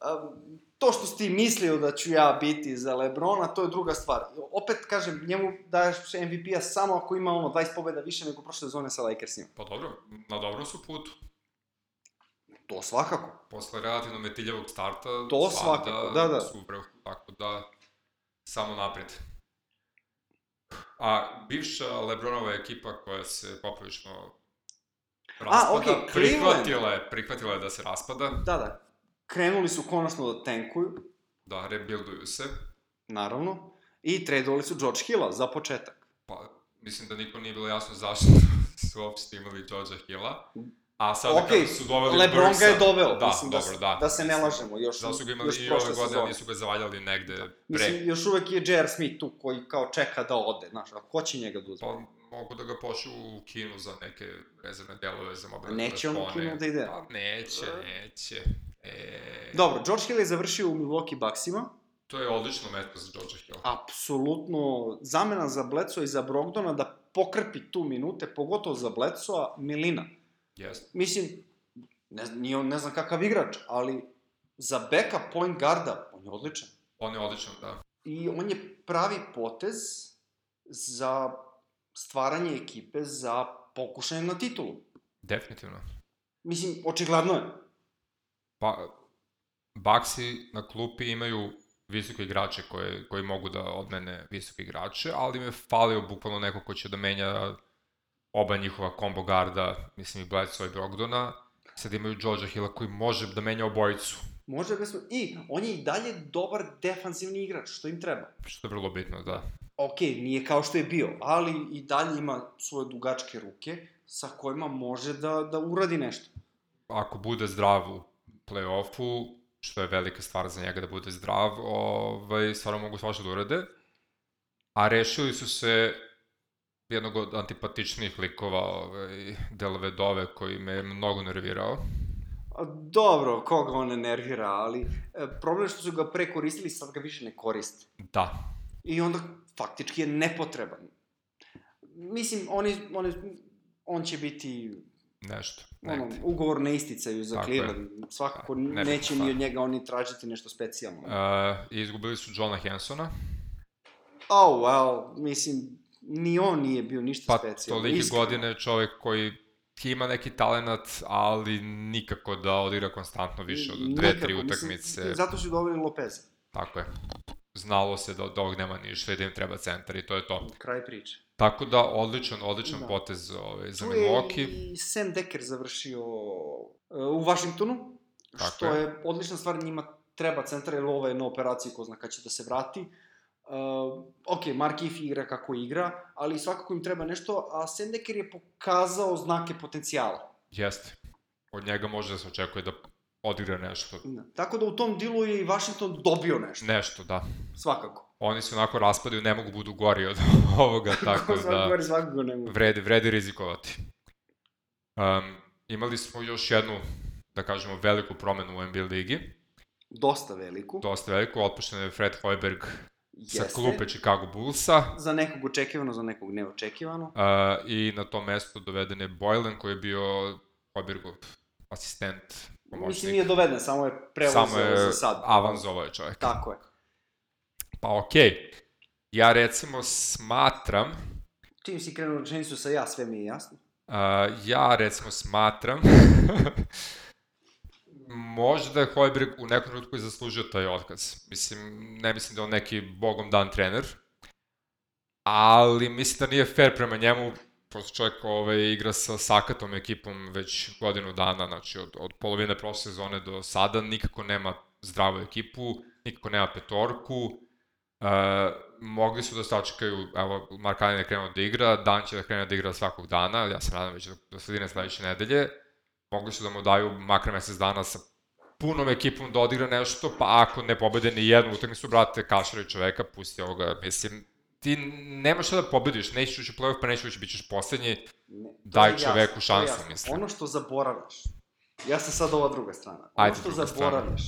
Speaker 1: a, to što si ti mislio da ću ja biti za Lebrona, to je druga stvar. Opet, kažem, njemu daješ MVP-a samo ako ima ono 20 pobjeda više nego prošle sezone sa Lakersima.
Speaker 2: Pa dobro, na dobrom su putu.
Speaker 1: To svakako.
Speaker 2: Posle relativno metiljavog starta,
Speaker 1: To
Speaker 2: sada
Speaker 1: svakako, da, da.
Speaker 2: su u vrhu, tako da samo napred. A bivša Lebronova ekipa koja se poprilično raspada,
Speaker 1: okej, Cleveland.
Speaker 2: prihvatila, je, prihvatila je da se raspada,
Speaker 1: Da, da. Krenuli su konačno da tankuju,
Speaker 2: da rebuilduju se,
Speaker 1: naravno, i tradovali su George Hilla za početak.
Speaker 2: pa mislim da nikom nije bilo jasno zašto su uopšte imali Georgia Hilla, a sada
Speaker 1: Okej,
Speaker 2: kada su doveli
Speaker 1: Lebron ga je
Speaker 2: Bursa-
Speaker 1: doveo,
Speaker 2: da,
Speaker 1: mislim,
Speaker 2: dobro,
Speaker 1: da,
Speaker 2: da,
Speaker 1: da se ne lažemo. Još,
Speaker 2: Da su ga
Speaker 1: još
Speaker 2: imali i
Speaker 1: prošle
Speaker 2: ove godine,
Speaker 1: sezone.
Speaker 2: nisu ga zavaljali negde pre.
Speaker 1: Mislim, još uvek je J.R. Smith tu koji kao čeka da ode, znaš, a ko će njega da uzme?
Speaker 2: Pa mogu da ga pošu u kinu za neke rezervne delove za mobilne
Speaker 1: Neće on u
Speaker 2: telefone.
Speaker 1: kinu da ide?
Speaker 2: Pa neće, neće. E,
Speaker 1: Dobro, George Hill je završio u Milwaukee Bucksima,
Speaker 2: To je odlično mesto za George Hill.
Speaker 1: apsolutno zamena za Bledsoe i za Brogdona da pokrpi tu minute, pogotovo za Bledsoa, Milina.
Speaker 2: Jeste.
Speaker 1: Mislim, ne, znam- nije on ne znam kakav igrač, ali za backup point guarda, on je odličan.
Speaker 2: On je odličan, da.
Speaker 1: I on je pravi potez za stvaranje ekipe za pokušanje na titulu.
Speaker 2: Definitivno.
Speaker 1: Mislim, očigledno je.
Speaker 2: Pa, Baksi na klupi imaju visoke igrače koje, koji mogu da odmene visoke igrače, ali im je falio bukvalno neko ko će da menja oba njihova combo garda, mislim i Bledsoe i Brogdona. Sad imaju George Hilla koji može da menja obojicu,
Speaker 1: Možda ga smo... I, on je i dalje dobar defanzivni igrač, što im treba.
Speaker 2: što je vrlo bitno, da.
Speaker 1: ok, nije kao što je bio, ali i dalje ima svoje dugačke ruke sa kojima može da, da uradi nešto.
Speaker 2: ako bude zdrav u play-offu, što je velika stvar za njega da bude zdrav, ovaj, stvarno mogu svašta da urade. A rešili su se jednog od antipatičnih likova ovaj, Delavedove koji me je mnogo nervirao.
Speaker 1: A, Dobro, koga on ne nervira, ali e, problem je što su ga pre koristili, sad ga više ne koriste.
Speaker 2: Da,
Speaker 1: I onda faktički je nepotreban. Mislim, on, je, on, je, on će biti
Speaker 2: nešto.
Speaker 1: ono,
Speaker 2: Negde.
Speaker 1: ugovor ne isticaju za
Speaker 2: Tako je.
Speaker 1: Cleveland. Svakako
Speaker 2: Ne bi-
Speaker 1: neće
Speaker 2: da.
Speaker 1: ni od njega oni tražiti nešto specijalno.
Speaker 2: Uh, I izgubili su Johna Hensona,
Speaker 1: Oh, well, mislim, ni on nije bio ništa
Speaker 2: pa
Speaker 1: specijalno.
Speaker 2: tolike
Speaker 1: iskreno.
Speaker 2: godine čovjek koji ima neki talenat, ali nikako da odigra konstantno više od dve, tri
Speaker 1: Nikako, mislim, da
Speaker 2: utakmice.
Speaker 1: Zato su doveli Lopeza.
Speaker 2: Tako je. Znalo se da od ovog nema ništa i da im treba centar i to je to.
Speaker 1: Kraj priče.
Speaker 2: Tako da, odličan, odličan
Speaker 1: Da.
Speaker 2: da. potez ovaj, za
Speaker 1: Tu je
Speaker 2: Milwaukee.
Speaker 1: i Sam Decker završio e, u Washingtonu,
Speaker 2: Tako
Speaker 1: što
Speaker 2: je.
Speaker 1: je. odlična stvar, njima treba centar, jer ovo je na operaciji, ko zna kad će da se vrati. Uh, ok, Mark If igra kako igra, ali svakako im treba nešto, a Sam Decker je pokazao znake potencijala.
Speaker 2: Jeste. Od njega može da se očekuje da odigra nešto.
Speaker 1: Da. Tako da u tom dilu je i Washington dobio nešto,
Speaker 2: Nešto, da.
Speaker 1: svakako.
Speaker 2: Oni se onako raspadaju, ne mogu da budu gori od ovoga, tako
Speaker 1: Ko svakako,
Speaker 2: da
Speaker 1: da. svakako ne mogu.
Speaker 2: vredi, vredi rizikovati. Um, imali smo još jednu, da kažemo, veliku promenu u NBA ligi.
Speaker 1: Dosta veliku.
Speaker 2: Dosta veliku, otpušten je Fred Hoiberg sa
Speaker 1: Jeste.
Speaker 2: klupe Chicago Bullsa.
Speaker 1: Za nekog očekivano, za nekog neočekivano.
Speaker 2: Uh, I na to mesto doveden je Boylan koji je bio Hobergov asistent, pomoćnik.
Speaker 1: Mislim, nije doveden, samo je preuzeo
Speaker 2: Samo je
Speaker 1: za sad.
Speaker 2: avanzovao je čovjek.
Speaker 1: Tako je.
Speaker 2: Pa okej. Okay. Ja recimo smatram,
Speaker 1: Čim si krenuo rečenicu sa ja, sve mi je jasno.
Speaker 2: A, ja recimo smatram možda je Hojberg u nekom trenutku i zaslužio taj otkaz. Mislim, ne mislim da je on neki bogom dan trener, ali mislim da nije fair prema njemu, prosto čovjek ovaj, igra sa Sakatom ekipom već godinu dana, znači od, od polovine prošle sezone do sada, nikako nema zdravu ekipu, nikako nema petorku, Uh, mogli su da sačekaju, evo, Markanin je krenuo da igra, Dan će da krene da igra svakog dana, ja se nadam već do, do sredine sledeće nedelje, mogli su da mu daju makar mesec dana sa punom ekipom da odigra nešto, pa ako ne pobede ni jednu utakmicu, brate, kaširaj čoveka, pusti ovoga, mislim, ti nemaš šta da pobediš, nećeš ući u playoff, pa nećeš ući, bit ćeš poslednji,
Speaker 1: Ne, to
Speaker 2: Daj
Speaker 1: je jasno,
Speaker 2: čoveku
Speaker 1: to je
Speaker 2: šansu,
Speaker 1: jasno.
Speaker 2: mislim.
Speaker 1: Ono što zaboravljaš, ja sam sad ova druga strana, ono
Speaker 2: Ajde,
Speaker 1: što
Speaker 2: druga strana.
Speaker 1: zaboravljaš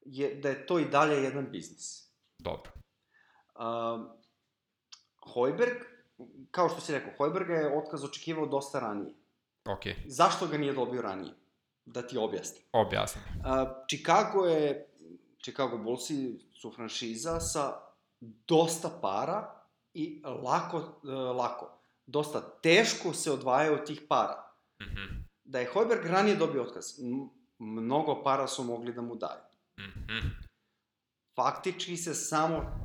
Speaker 1: je da je to i dalje jedan biznis.
Speaker 2: dobro.
Speaker 1: Um, Hojberg, kao što si rekao, Hojberga je otkaz očekivao dosta ranije.
Speaker 2: Ok,
Speaker 1: Zašto ga nije dobio ranije? Da ti objasnim.
Speaker 2: objasnim.
Speaker 1: Uh, Chicago je, Chicago Bullsi su franšiza sa dosta para i lako, uh, lako, dosta teško se odvajaju od tih para.
Speaker 2: Mhm,
Speaker 1: Da je Hojberg ranije dobio otkaz, m- mnogo para su mogli da mu daju.
Speaker 2: mhm,
Speaker 1: faktički se samo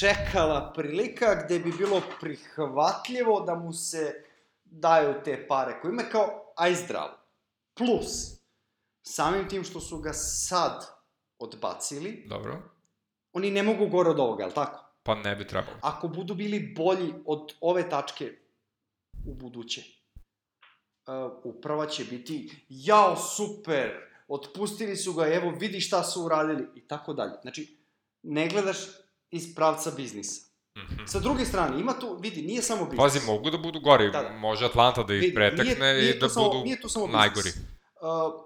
Speaker 1: čekala prilika gde bi bilo prihvatljivo da mu se daju te pare koje ima kao aj zdravo. Plus, samim tim što su ga sad odbacili,
Speaker 2: dobro.
Speaker 1: oni ne mogu gore od ovoga, jel tako?
Speaker 2: Pa ne bi trebalo.
Speaker 1: Ako budu bili bolji od ove tačke u buduće, uh, uprava će biti jao super, otpustili su ga, evo vidi šta su uradili i tako dalje. Znači, ne gledaš iz pravca biznisa.
Speaker 2: Mhm.
Speaker 1: Sa druge strane, ima tu, vidi, nije samo biznis.
Speaker 2: Pazi, mogu da budu gori,
Speaker 1: Da, da.
Speaker 2: može Atlanta da ih
Speaker 1: Vidi,
Speaker 2: pretekne i
Speaker 1: tu
Speaker 2: da
Speaker 1: samo,
Speaker 2: budu...
Speaker 1: nije tu samo
Speaker 2: najgori.
Speaker 1: Biznis. Uh,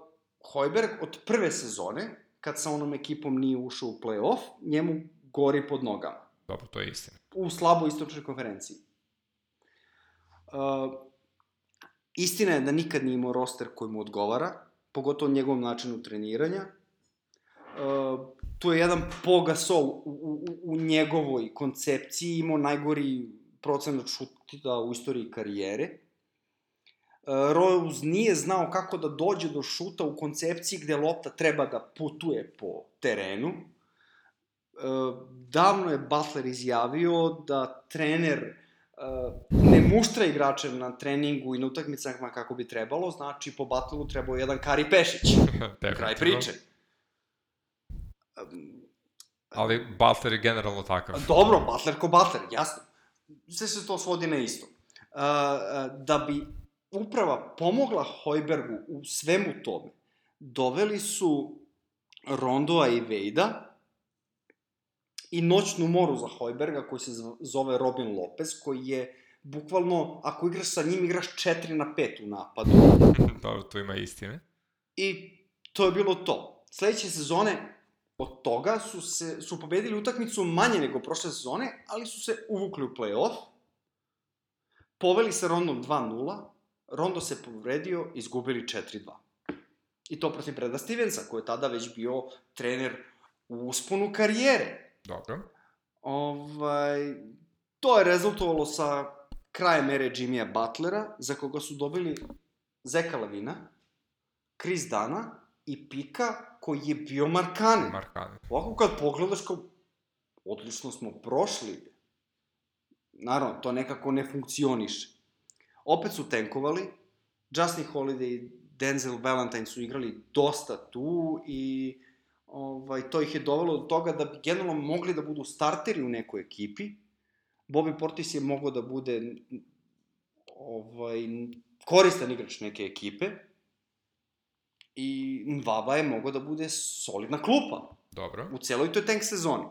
Speaker 1: Hojberg od prve sezone, kad sa onom ekipom nije ušao u play-off, njemu gori pod nogama.
Speaker 2: Dobro, to je istina.
Speaker 1: U slaboj istočnoj konferenciji. Uh, istina je da nikad nije imao roster koji mu odgovara, pogotovo njegovom načinu treniranja. Uh, tu je jedan pogasol u, u, u- u njegovoj koncepciji imao najgori procenat šuta u istoriji karijere. Uh, Rose nije znao kako da dođe do šuta u koncepciji gde lopta treba da putuje po terenu. Uh, davno je Butler izjavio da trener uh, ne muštra igrače na treningu i na utakmicama kako bi trebalo, znači po Butleru trebao je jedan Kari Pešić. Kraj
Speaker 2: Definitivno.
Speaker 1: priče.
Speaker 2: Ali Butler je generalno takav.
Speaker 1: Dobro, Butler ko Butler, jasno. Sve se to svodi na isto. Uh, da bi uprava pomogla Hojbergu u svemu tome, doveli su Rondoa i Vejda i noćnu moru za Hojberga koji se zv- zove Robin Lopez, koji je bukvalno, ako igraš sa njim, igraš 4 na 5 u napadu.
Speaker 2: Dobro, tu ima istine.
Speaker 1: I to je bilo to. Sledeće sezone od toga su, se, su pobedili utakmicu manje nego prošle sezone, ali su se uvukli u play-off. Poveli se Rondom 2-0, Rondo se povredio, izgubili 4-2. I to protiv Breda Stevensa, koji je tada već bio trener u usponu karijere.
Speaker 2: Dobro.
Speaker 1: Ovaj, to je rezultovalo sa krajem ere Jimmya Butlera, za koga su dobili Zeka Lavina, Chris Dana i Pika, koji je bio Markane.
Speaker 2: Markane.
Speaker 1: Ovako kad pogledaš kao, odlično smo prošli. Naravno, to nekako ne funkcioniše. Opet su tenkovali, Justin Holiday i Denzel Valentine su igrali dosta tu i ovaj, to ih je dovelo do toga da bi generalno mogli da budu starteri u nekoj ekipi. Bobby Portis je mogao da bude ovaj, koristan igrač neke ekipe i Nvaba je mogao da bude solidna klupa
Speaker 2: Dobro.
Speaker 1: u celoj toj tank sezoni.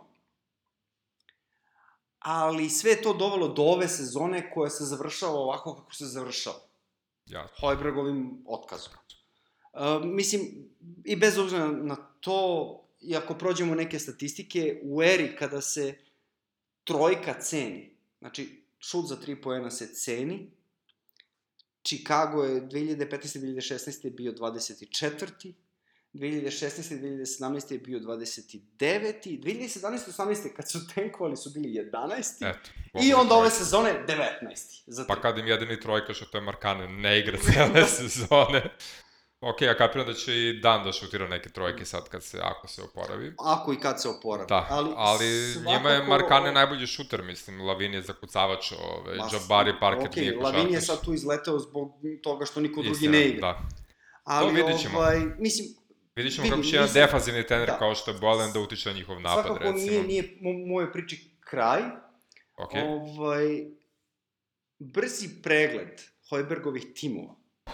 Speaker 1: Ali sve je to dovelo do ove sezone koja se završava ovako kako se završava.
Speaker 2: Ja.
Speaker 1: Hojbergovim otkazom. E, mislim, i bez obzira na to, i ako prođemo neke statistike, u eri kada se trojka ceni, znači šut za tri poena se ceni, Chicago je 2015-2016 bio 24. 2016. i 2017. je bio 29. 2017. 18. kad su tenkovali su bili 11.
Speaker 2: Eto.
Speaker 1: I onda ove
Speaker 2: ovaj
Speaker 1: sezone 19. Za
Speaker 2: Pa
Speaker 1: tri.
Speaker 2: kad im jedini trojka što je Markane ne igra cele sezone. Ok, ja kapiram da će i Dan da šutira neke trojke sad kad se, ako se oporavi.
Speaker 1: Ako i kad se oporavi.
Speaker 2: Da, ali, ali njima je
Speaker 1: svakako-
Speaker 2: Markane najbolji šuter, mislim, Lavin je zakucavač, ove,
Speaker 1: Ma,
Speaker 2: Jabari Parker
Speaker 1: okej,
Speaker 2: okay, nije košarkaš.
Speaker 1: Lavin je sad tu izleteo zbog toga što niko drugi
Speaker 2: Istina,
Speaker 1: ne igra.
Speaker 2: Da.
Speaker 1: Ali,
Speaker 2: vidit ćemo.
Speaker 1: Ovaj, mislim,
Speaker 2: Vidit ćemo
Speaker 1: Vidim,
Speaker 2: kako će jedan
Speaker 1: mislim-
Speaker 2: defanzivni trener
Speaker 1: da.
Speaker 2: da. kao što je Bolen da utiče na njihov napad,
Speaker 1: svakako
Speaker 2: recimo.
Speaker 1: nije, nije mo- moje priči kraj.
Speaker 2: Okej.
Speaker 1: Okay. Ovaj, brzi pregled Hojbergovih timova e,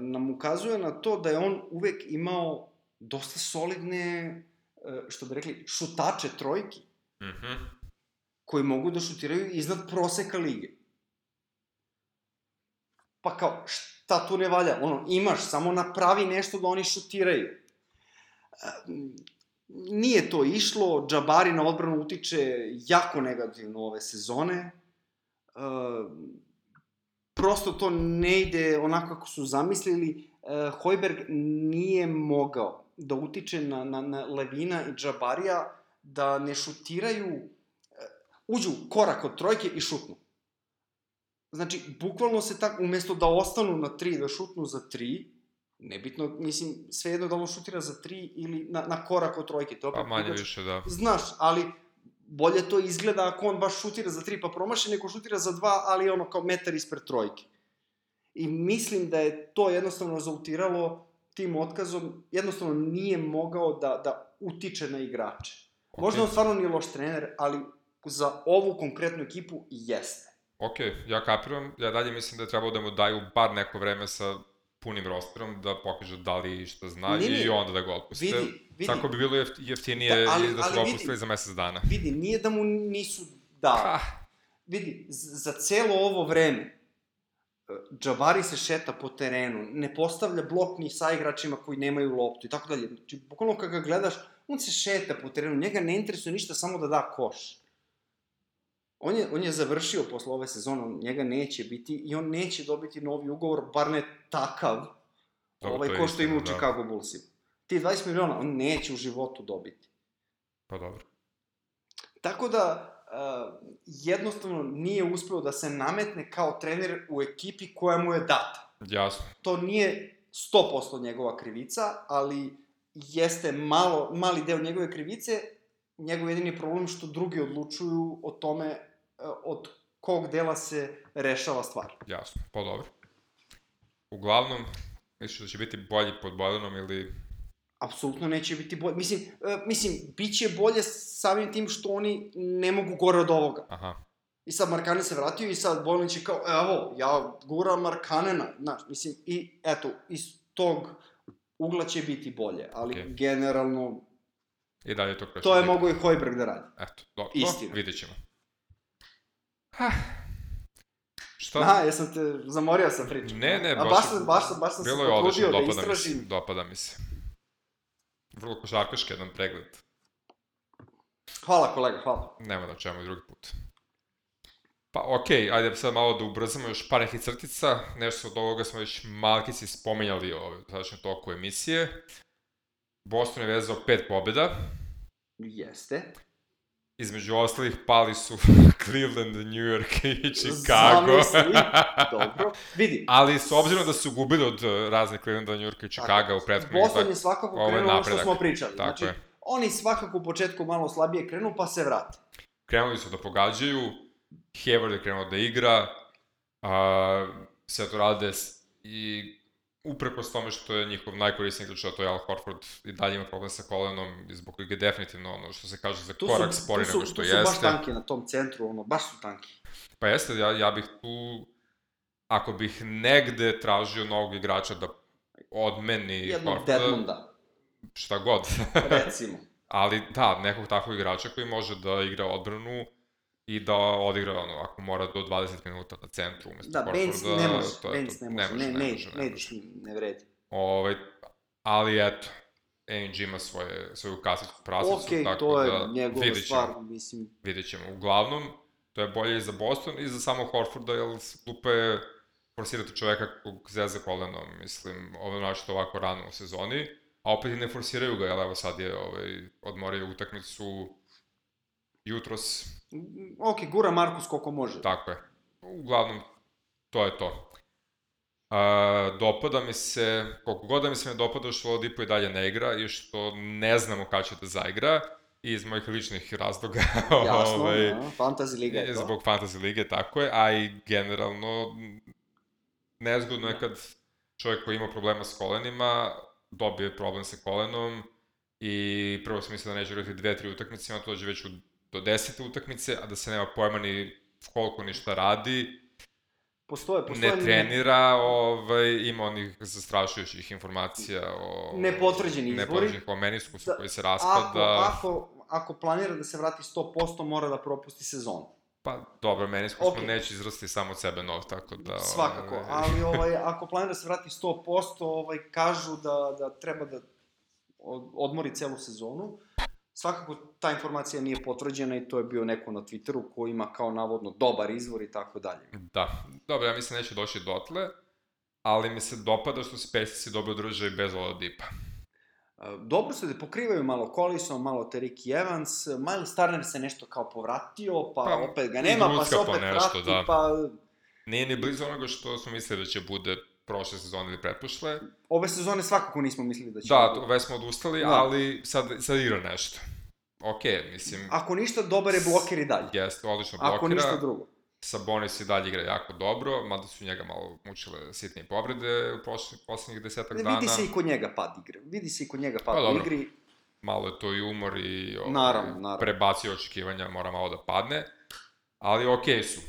Speaker 1: nam ukazuje na to da je on uvek imao dosta solidne, e, što bi rekli, šutače trojki,
Speaker 2: Mhm.
Speaker 1: koji mogu da šutiraju iznad proseka lige. Pa kao, šta tu ne valja? Ono, imaš, samo napravi nešto da oni šutiraju. E, m, Nije to išlo, Džabari na odbranu utiče jako negativno ove sezone. E, prosto to ne ide onako kako su zamislili. E, Hojberg nije mogao da utiče na, na, na Levina i Džabarija da ne šutiraju uđu korak od trojke i šutnu. Znači, bukvalno se tako, umesto da ostanu na tri, da šutnu za tri, nebitno, mislim, svejedno da on šutira za tri ili na, na korak od trojke. To je
Speaker 2: Pa
Speaker 1: opet
Speaker 2: manje
Speaker 1: drugačije.
Speaker 2: više, da.
Speaker 1: Znaš, ali bolje to izgleda ako on baš šutira za tri pa promaši, nego šutira za dva, ali ono kao metar ispred trojke. I mislim da je to jednostavno rezultiralo tim otkazom, jednostavno nije mogao da, da utiče na igrače. Okay. Možda on stvarno nije loš trener, ali za ovu konkretnu ekipu jeste.
Speaker 2: Ok, ja kapiram, ja dalje mislim da je trebalo da mu daju bar neko vreme sa punim rosterom da pokaže da li šta zna
Speaker 1: Ne, ne.
Speaker 2: i onda da ga otpuste.
Speaker 1: Vidi, vidi,
Speaker 2: Tako bi bilo jeft- jeftinije
Speaker 1: Da,
Speaker 2: da,
Speaker 1: ali-
Speaker 2: ali, da su
Speaker 1: ali
Speaker 2: ga
Speaker 1: vidi.
Speaker 2: opustili za mesec dana.
Speaker 1: vidi, nije da mu nisu dali.
Speaker 2: Pa,
Speaker 1: vidi, z- za celo ovo vreme e, Džabari se šeta po terenu, ne postavlja blok ni sa igračima koji nemaju loptu i tako dalje. Znači, bukvalno kada ga gledaš, on se šeta po terenu, njega ne interesuje ništa samo da da koš. On je, on je završio posle ove sezone, on- njega neće biti i on neće dobiti novi ugovor, bar ne takav,
Speaker 2: Dobro, to
Speaker 1: ovaj,
Speaker 2: je
Speaker 1: ko što ima u
Speaker 2: istina, da.
Speaker 1: Chicago Bullsima. Ti 20 miliona on neće u životu dobiti.
Speaker 2: pa dobro.
Speaker 1: Tako da, uh, jednostavno nije uspeo da se nametne kao trener u ekipi koja mu je data.
Speaker 2: Jasno.
Speaker 1: To nije 100% njegova krivica, ali jeste malo, mali deo njegove krivice. Njegov jedini problem je što drugi odlučuju o tome uh, od kog dela se rešava stvar.
Speaker 2: Jasno, pa dobro. Uglavnom, misliš da će biti bolji pod Bojanom ili...
Speaker 1: Apsolutno neće biti bolje. Mislim, uh, mislim, bit će bolje samim tim što oni ne mogu gore od ovoga.
Speaker 2: Aha,
Speaker 1: I sad Markane se vratio i sad Bojanić je kao, "E, evo, ja guram Markanena, znaš, mislim, i eto, iz tog ugla će biti bolje, ali okay.
Speaker 2: Okej.
Speaker 1: generalno,
Speaker 2: i dalje to kreće.
Speaker 1: to je mogo i Hojberg da radi.
Speaker 2: Eto, dobro,
Speaker 1: Istina.
Speaker 2: vidit ćemo. Ha. Šta?
Speaker 1: Da. Aha, jesam te, zamorio sam priču.
Speaker 2: Pa- Ne, ne,
Speaker 1: A
Speaker 2: baš
Speaker 1: baš,
Speaker 2: je-
Speaker 1: sam, baš, sam, baš sam se
Speaker 2: Bilo je odlično,
Speaker 1: potrudio da
Speaker 2: dopada mi se.
Speaker 1: istražim.
Speaker 2: Dopada mi se. Vrlo košarkaški jedan pregled.
Speaker 1: Hvala kolega, hvala.
Speaker 2: Nema da čemu drugi put. Pa okej, okay, ajde sad malo da ubrzamo još par nekih crtica. Nešto od ovoga smo već malkice spomenjali ove, u sadašnjem toku emisije. Boston je vezao pet pobjeda.
Speaker 1: Jeste.
Speaker 2: Između ostalih pali su Cleveland, New York i Chicago.
Speaker 1: Zamisli, dobro. Vidi,
Speaker 2: Ali s obzirom da su gubili od eh, razne Clevelanda, New Yorka i Chicaga u prethodnih
Speaker 1: Boston je svakako
Speaker 2: ovo je
Speaker 1: krenuo ono što
Speaker 2: napredak.
Speaker 1: smo pričali.
Speaker 2: Tako
Speaker 1: znači,
Speaker 2: je.
Speaker 1: oni svakako u početku malo slabije krenu, pa se vrate.
Speaker 2: krenuli su da pogađaju, Hayward je krenuo da igra, a, Setorades i uprkos tome što je njihov najkorisniji igrač, a to je Al Horford, i dalje ima problem sa kolenom, i zbog kojeg je definitivno ono što se kaže za
Speaker 1: Tu
Speaker 2: korak
Speaker 1: su,
Speaker 2: spori
Speaker 1: tu su,
Speaker 2: nego što
Speaker 1: tu
Speaker 2: jeste.
Speaker 1: su baš tanki na tom centru, ono, baš su tanki.
Speaker 2: Pa jeste, ja, ja bih tu, ako bih negde tražio novog igrača da odmeni
Speaker 1: jednog
Speaker 2: Horforda,
Speaker 1: Deadmonda,
Speaker 2: šta god,
Speaker 1: recimo.
Speaker 2: Ali da, nekog takvog igrača koji može da igra odbranu i da odigra ono, ako mora do 20 minuta na centru umesto
Speaker 1: Da, Benz
Speaker 2: Horforda,
Speaker 1: ne može,
Speaker 2: to je
Speaker 1: Benz
Speaker 2: to.
Speaker 1: ne može, ne, ne, ne ide s
Speaker 2: može.
Speaker 1: njim, ne vredi.
Speaker 2: Ovaj, ali eto, AMG ima svoje, svoju kasicu prasicu,
Speaker 1: Okej,
Speaker 2: tako
Speaker 1: to je
Speaker 2: da
Speaker 1: njegova
Speaker 2: vidit ćemo,
Speaker 1: stvar, mislim,
Speaker 2: vidit ćemo. Uglavnom, to je bolje i za Boston i za samo Horforda, jer glupo je forsirati čoveka kog zeza kolenom, mislim, ovo našto ovako rano u sezoni. a opet i ne forsiraju ga, jel evo sad je, ovaj, odmorio utakmicu jutros,
Speaker 1: Ok, gura Markus koliko može.
Speaker 2: tako je. Uglavnom, to je to. A, dopada mi se, koliko god da mi se ne dopada što Oladipo i dalje ne igra i što ne znamo kada će da zaigra, i iz mojih ličnih razloga.
Speaker 1: Jasno,
Speaker 2: ovaj,
Speaker 1: da, fantasy liga je to.
Speaker 2: Zbog fantasy lige, tako je, a i generalno m, nezgodno
Speaker 1: Da.
Speaker 2: je kad čovjek koji ima problema s kolenima dobije problem sa kolenom i prvo sam mislio da neće igrati dve, tri utakmice, onda to dođe već u, do desete utakmice, a da se nema pojma ni koliko ni šta radi,
Speaker 1: Postoje, postoje
Speaker 2: ne trenira, ovaj, ima onih zastrašujućih informacija o...
Speaker 1: Nepotvrđeni izbori.
Speaker 2: Nepotvrđenih o meniskusu
Speaker 1: Da,
Speaker 2: koji se
Speaker 1: ako,
Speaker 2: raspada.
Speaker 1: ako, ako planira da se vrati 100%, mora da propusti sezonu.
Speaker 2: Pa dobro, meniskus okay.
Speaker 1: Okej.
Speaker 2: neće izrasti samo od sebe nov, tako da...
Speaker 1: Svakako,
Speaker 2: ovaj,
Speaker 1: ali ovaj, ako planira da se vrati 100%, ovaj, kažu da, da treba da od- odmori celu sezonu. Svakako ta informacija nije potvrđena i to je bio neko na Twitteru koji ima kao navodno dobar izvor i tako dalje. E,
Speaker 2: Da, dobro, ja mislim neće doći dotle, ali mi se dopada što se Pacers dobro održaju bez Oladipa.
Speaker 1: E, Dobro se da pokrivaju malo Collison, malo Teriki Evans, Miles Starner se nešto kao povratio, pa,
Speaker 2: Pa,
Speaker 1: opet ga nema, pa se
Speaker 2: izvucka po
Speaker 1: opet
Speaker 2: nešto,
Speaker 1: vrati,
Speaker 2: da.
Speaker 1: pa
Speaker 2: Nije ni blizu onoga što smo mislili da će bude prošle sezone ili pretpošle.
Speaker 1: ove sezone svakako nismo mislili da će...
Speaker 2: Da, to- već smo odustali,
Speaker 1: Da.
Speaker 2: ali sad, sad igra nešto. Ok, mislim,
Speaker 1: Ako ništa, dobar je bloker i dalje.
Speaker 2: jeste, odlično
Speaker 1: Ako ništa
Speaker 2: blokira.
Speaker 1: drugo.
Speaker 2: Sabonis i dalje igra jako dobro, mada su njega malo mučile sitne povrede u prošli, poslednjih desetak
Speaker 1: Ne,
Speaker 2: dana.
Speaker 1: Vidi se i kod njega pad igre. Vidi se i kod njega pad
Speaker 2: da, Pa,
Speaker 1: u
Speaker 2: dobro.
Speaker 1: igri.
Speaker 2: malo je to i umor i ovaj,
Speaker 1: Naravno, naravno.
Speaker 2: prebacio očekivanja, mora malo da padne, ali okej su.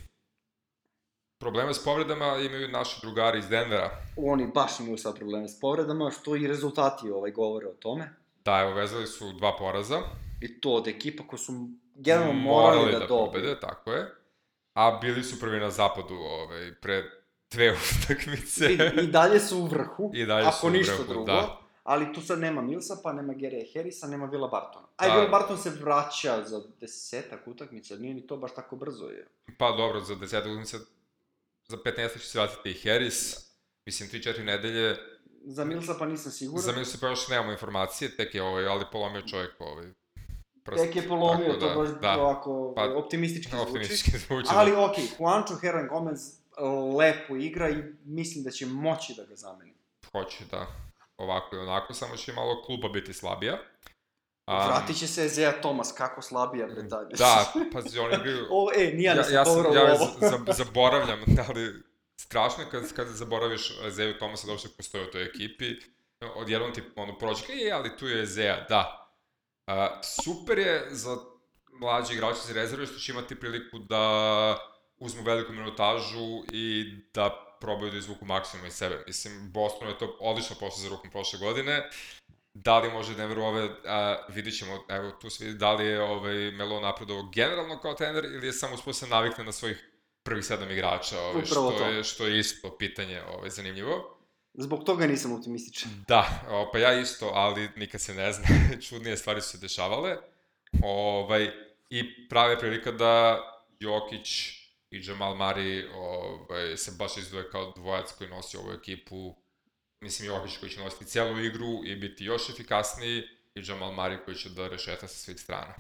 Speaker 2: Probleme s povredama imaju naši drugari iz Denvera.
Speaker 1: Oni baš imaju sad probleme s povredama, što i rezultati ovaj govore o tome.
Speaker 2: Da, evo, vezali su dva poraza.
Speaker 1: I to od ekipa koji su generalno
Speaker 2: Mm,
Speaker 1: morali, da, dobiju.
Speaker 2: pobede, tako je. A bili su prvi na zapadu ovaj, pre dve utakmice.
Speaker 1: Vidi, I dalje su u vrhu,
Speaker 2: I dalje
Speaker 1: ako
Speaker 2: su u
Speaker 1: ništa
Speaker 2: vrhu,
Speaker 1: drugo.
Speaker 2: da.
Speaker 1: Ali tu sad nema Milsa, pa nema Gerija Harrisa, nema Vila Bartona. A
Speaker 2: Da.
Speaker 1: da. Vila Barton se vraća za desetak utakmica, nije ni to baš tako brzo je.
Speaker 2: Pa dobro, za 10 utakmice, za 15 će se vratiti i Harris. Mislim, 3-4 nedelje,
Speaker 1: Za Milsa pa nisam siguran.
Speaker 2: Za mene se pa još nemamo informacije, tek je ovaj, ali polomio čovjek ovaj prst.
Speaker 1: Tek je polomio,
Speaker 2: tako
Speaker 1: to baš
Speaker 2: da,
Speaker 1: ovako
Speaker 2: Pa,
Speaker 1: optimistički
Speaker 2: da,
Speaker 1: zvuči.
Speaker 2: optimistički zvuči.
Speaker 1: Ali okej, okay, Juancho Hernan Gomez uh, lepo igra i mislim da će moći da ga zameni.
Speaker 2: Hoće da ovako i onako, samo će malo kluba biti slabija.
Speaker 1: Um,
Speaker 2: Am,
Speaker 1: Vratit će se Zea Thomas, kako slabija bre taj.
Speaker 2: Da, pazi, oni igraju...
Speaker 1: o, e, nije
Speaker 2: ja,
Speaker 1: ja, da
Speaker 2: ja,
Speaker 1: sam
Speaker 2: ja, sam,
Speaker 1: dobro
Speaker 2: ja
Speaker 1: ovo.
Speaker 2: z- zab- zaboravljam, ali strašno je kad, kad zaboraviš Zeju Tomasa da uopšte postoje u toj ekipi. Odjednom ti ono prođe, kao, je, ali tu je Zeja, da. A, super je za mlađe igrače iz rezerve što će imati priliku da uzmu veliku minutažu i da probaju da izvuku maksimum iz sebe. Mislim, Boston je to odlično pošlo za rukom prošle godine. Da li može Denver ove, a, vidit ćemo, evo tu se vidi da li je ovaj, Melo napredovao generalno kao trener ili je samo uspio da se navikne na svojih prvih sedam igrača, ovaj,
Speaker 1: Upravo
Speaker 2: što,
Speaker 1: to.
Speaker 2: je, što je isto pitanje ovaj, zanimljivo.
Speaker 1: Zbog toga nisam optimističan.
Speaker 2: Da, o, pa ja isto, ali nikad se ne zna, čudnije stvari su se dešavale. Ovaj, I prave prilika da Jokić i Jamal Mari ovaj, se baš izdvoje kao dvojac koji nosi ovu ekipu. Mislim, Jokić koji će nositi cijelu igru i biti još efikasniji i Jamal Mari koji će da rešeta sa svih strana.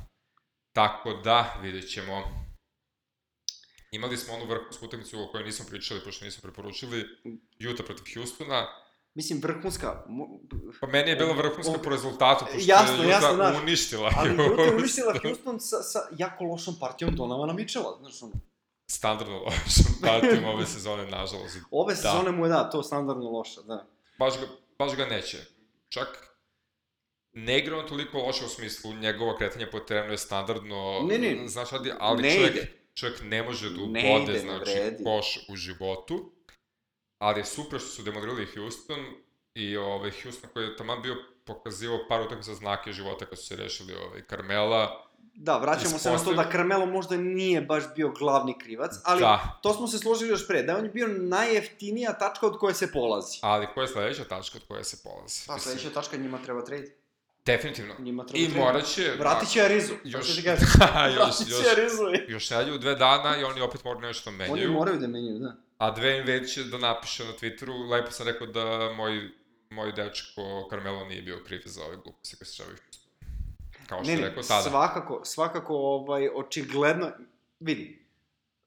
Speaker 2: Tako da, vidjet ćemo. Imali smo onu vrhunsku utakmicu o kojoj nismo pričali, pošto nismo preporučili, Utah protiv Houstona.
Speaker 1: Mislim, vrhunska, mo-
Speaker 2: Pa meni je bilo vrhunska
Speaker 1: O-
Speaker 2: po rezultatu, pošto
Speaker 1: Jasno,
Speaker 2: je Juta
Speaker 1: jasno, znaš.
Speaker 2: uništila.
Speaker 1: ali
Speaker 2: Houston.
Speaker 1: Utah je uništila Houston sa, sa jako lošom partijom Donovana Mitchella, znaš ono.
Speaker 2: Standardno lošom partijom ove sezone, nažalost.
Speaker 1: Ove
Speaker 2: Da.
Speaker 1: sezone mu je da, to standardno loša, da.
Speaker 2: Baš ga, baš ga neće. Čak ne igra on toliko loše u smislu, njegovo kretanje po terenu je standardno,
Speaker 1: Ne, ne.
Speaker 2: znaš, ali, ali
Speaker 1: Ne
Speaker 2: čovjek,
Speaker 1: ide.
Speaker 2: čovjek ne može da
Speaker 1: Ne
Speaker 2: ubode,
Speaker 1: ide, ne
Speaker 2: znači,
Speaker 1: vredi.
Speaker 2: koš u životu. Ali je super što su demolirali Houston i ovaj, Houston koji je tamo bio pokazivao par utakmica znake života kad su se rešili ovaj, Carmela,
Speaker 1: Da, vraćamo se na to
Speaker 2: Ispostavio-
Speaker 1: da Carmelo možda nije baš bio glavni krivac, ali
Speaker 2: Da.
Speaker 1: to smo se složili još pre, da je on bio najjeftinija tačka od koje se polazi.
Speaker 2: Ali koja je sledeća tačka od koje se polazi?
Speaker 1: Pa
Speaker 2: Mislim,
Speaker 1: sledeća tačka njima treba trade.
Speaker 2: Definitivno.
Speaker 1: Njima treba
Speaker 2: I
Speaker 1: trade.
Speaker 2: morat će...
Speaker 1: Vratit će Arizu. Još,
Speaker 2: Još-
Speaker 1: da ti kažem.
Speaker 2: da, još,
Speaker 1: Vratit
Speaker 2: još,
Speaker 1: će Arizu.
Speaker 2: još nedelju, dve dana i oni opet moraju nešto
Speaker 1: Oni
Speaker 2: menjaju.
Speaker 1: moraju da menjaju, da.
Speaker 2: A Dwayne Wade će da napiše na Twitteru, lepo sam rekao da moj moj dečko Carmelo nije bio kriv za ove gluposti koje se čavaju. Kao što
Speaker 1: Ne,
Speaker 2: je
Speaker 1: ne,
Speaker 2: rekao tada.
Speaker 1: svakako, svakako ovaj, očigledno, vidi,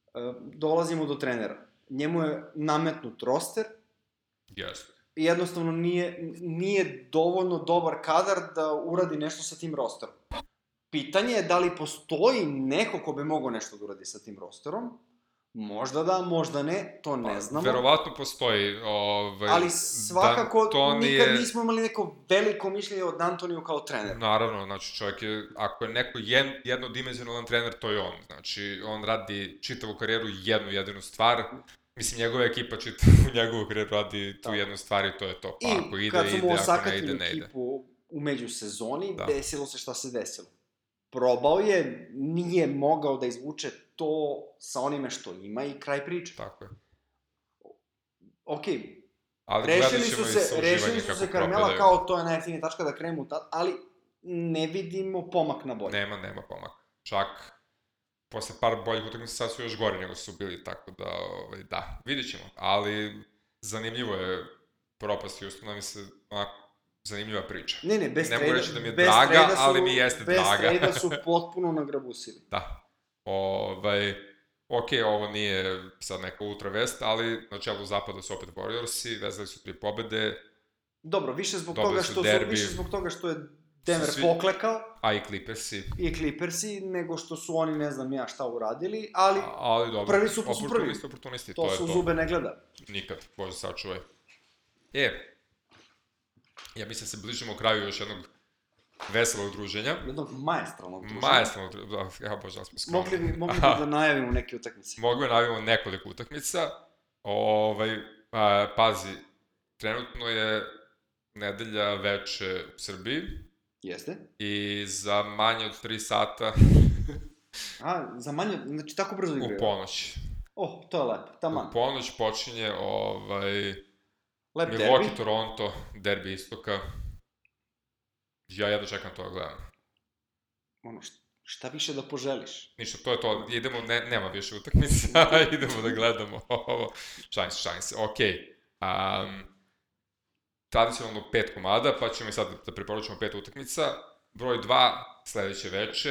Speaker 1: e, dolazimo do trenera. Njemu je nametnut roster,
Speaker 2: Jeste.
Speaker 1: i jednostavno nije, nije dovoljno dobar kadar da uradi nešto sa tim rosterom. Pitanje je da li postoji neko ko bi mogao nešto da uradi sa tim rosterom. Možda da, možda ne, to ne znamo.
Speaker 2: Pa, Verovatno postoji. Ovaj,
Speaker 1: ali svakako
Speaker 2: D'Antonije-
Speaker 1: nikad nismo imali neko veliko mišljenje od Antoniju kao trener.
Speaker 2: Naravno, znači čovjek je, ako je neko jed, jednodimenzionalan trener, to je on. Znači, on radi čitavu karijeru jednu jedinu stvar. Mislim, njegova ekipa čitavu njegovu karijeru radi tu
Speaker 1: Da.
Speaker 2: jednu stvar i to je to. Pa,
Speaker 1: I
Speaker 2: ako ide,
Speaker 1: kad su
Speaker 2: ide,
Speaker 1: mu
Speaker 2: ako ne
Speaker 1: osakatili
Speaker 2: ide, ne ide.
Speaker 1: ekipu u međusezoni,
Speaker 2: Da.
Speaker 1: da. desilo se šta se desilo. Probao je, nije mogao da izvuče to sa onime što ima i kraj priče.
Speaker 2: Tako je.
Speaker 1: Okej,
Speaker 2: Ali
Speaker 1: Rešili
Speaker 2: gledat ćemo
Speaker 1: su
Speaker 2: i
Speaker 1: se,
Speaker 2: sa
Speaker 1: rešili
Speaker 2: uživanjem
Speaker 1: su
Speaker 2: kako
Speaker 1: se Karmela
Speaker 2: propadaju.
Speaker 1: kao to je najjeftinija tačka da krenu tad, ali ne vidimo pomak na bolje.
Speaker 2: Nema, nema pomaka. Čak posle par boljih utakmica sad su još gori nego su bili, tako da, ovaj, da, vidit ćemo. Ali zanimljivo je propast Houstona, mi se onako zanimljiva priča.
Speaker 1: Ne, ne, bez
Speaker 2: Ne mogu
Speaker 1: trejda,
Speaker 2: reći da mi je
Speaker 1: bez
Speaker 2: draga,
Speaker 1: trejda su,
Speaker 2: ali mi jeste
Speaker 1: bez
Speaker 2: draga.
Speaker 1: trejda su potpuno nagrabusili.
Speaker 2: Da. Ovaj, ok, ovo nije sad neka ultra vest, ali na čelu zapada su opet Warriorsi, vezali su tri pobede,
Speaker 1: Dobro, više zbog
Speaker 2: Dobili
Speaker 1: toga
Speaker 2: su
Speaker 1: što
Speaker 2: derbi.
Speaker 1: su, više zbog toga što je Denver
Speaker 2: Svi-
Speaker 1: poklekao
Speaker 2: a i Clippersi,
Speaker 1: i Clippersi nego što su oni ne znam ja šta uradili, ali
Speaker 2: a- ali dobro,
Speaker 1: Prvi su- su prvi.
Speaker 2: oportunisti, oportunisti, to,
Speaker 1: to
Speaker 2: je
Speaker 1: se u
Speaker 2: to.
Speaker 1: zube ne gleda.
Speaker 2: Nikad, Bože sačuvaj. E, ja mislim da se bližimo kraju još jednog veselog druženja.
Speaker 1: Jednog majestralnog druženja.
Speaker 2: Majesno, da, ja bože, da smo skromni.
Speaker 1: Mogli bi, mogli
Speaker 2: Aha.
Speaker 1: bi da najavimo neke utakmice.
Speaker 2: Mogu da navijemo nekoliko utakmica. Ovaj, a, pazi, trenutno je nedelja veče u Srbiji
Speaker 1: Jeste?
Speaker 2: i za manje od 3 sata
Speaker 1: A, za manje, znači tako brzo
Speaker 2: u
Speaker 1: igraju.
Speaker 2: ponoć.
Speaker 1: Oh, to je lepo, taman.
Speaker 2: U ponoć počinje ovaj,
Speaker 1: Lep derbi.
Speaker 2: Milwaukee Toronto, derbi istoka. Ja jedno čekam to da gledam.
Speaker 1: ono, š- šta više da poželiš?
Speaker 2: Ništa, to je to. Idemo, ne, nema više utakmica, idemo da gledamo ovo. Šalim se, šalim se. Okej. Um, tradicionalno pet komada, pa ćemo i sad da preporučimo pet utakmica. Broj 2, sledeće veče,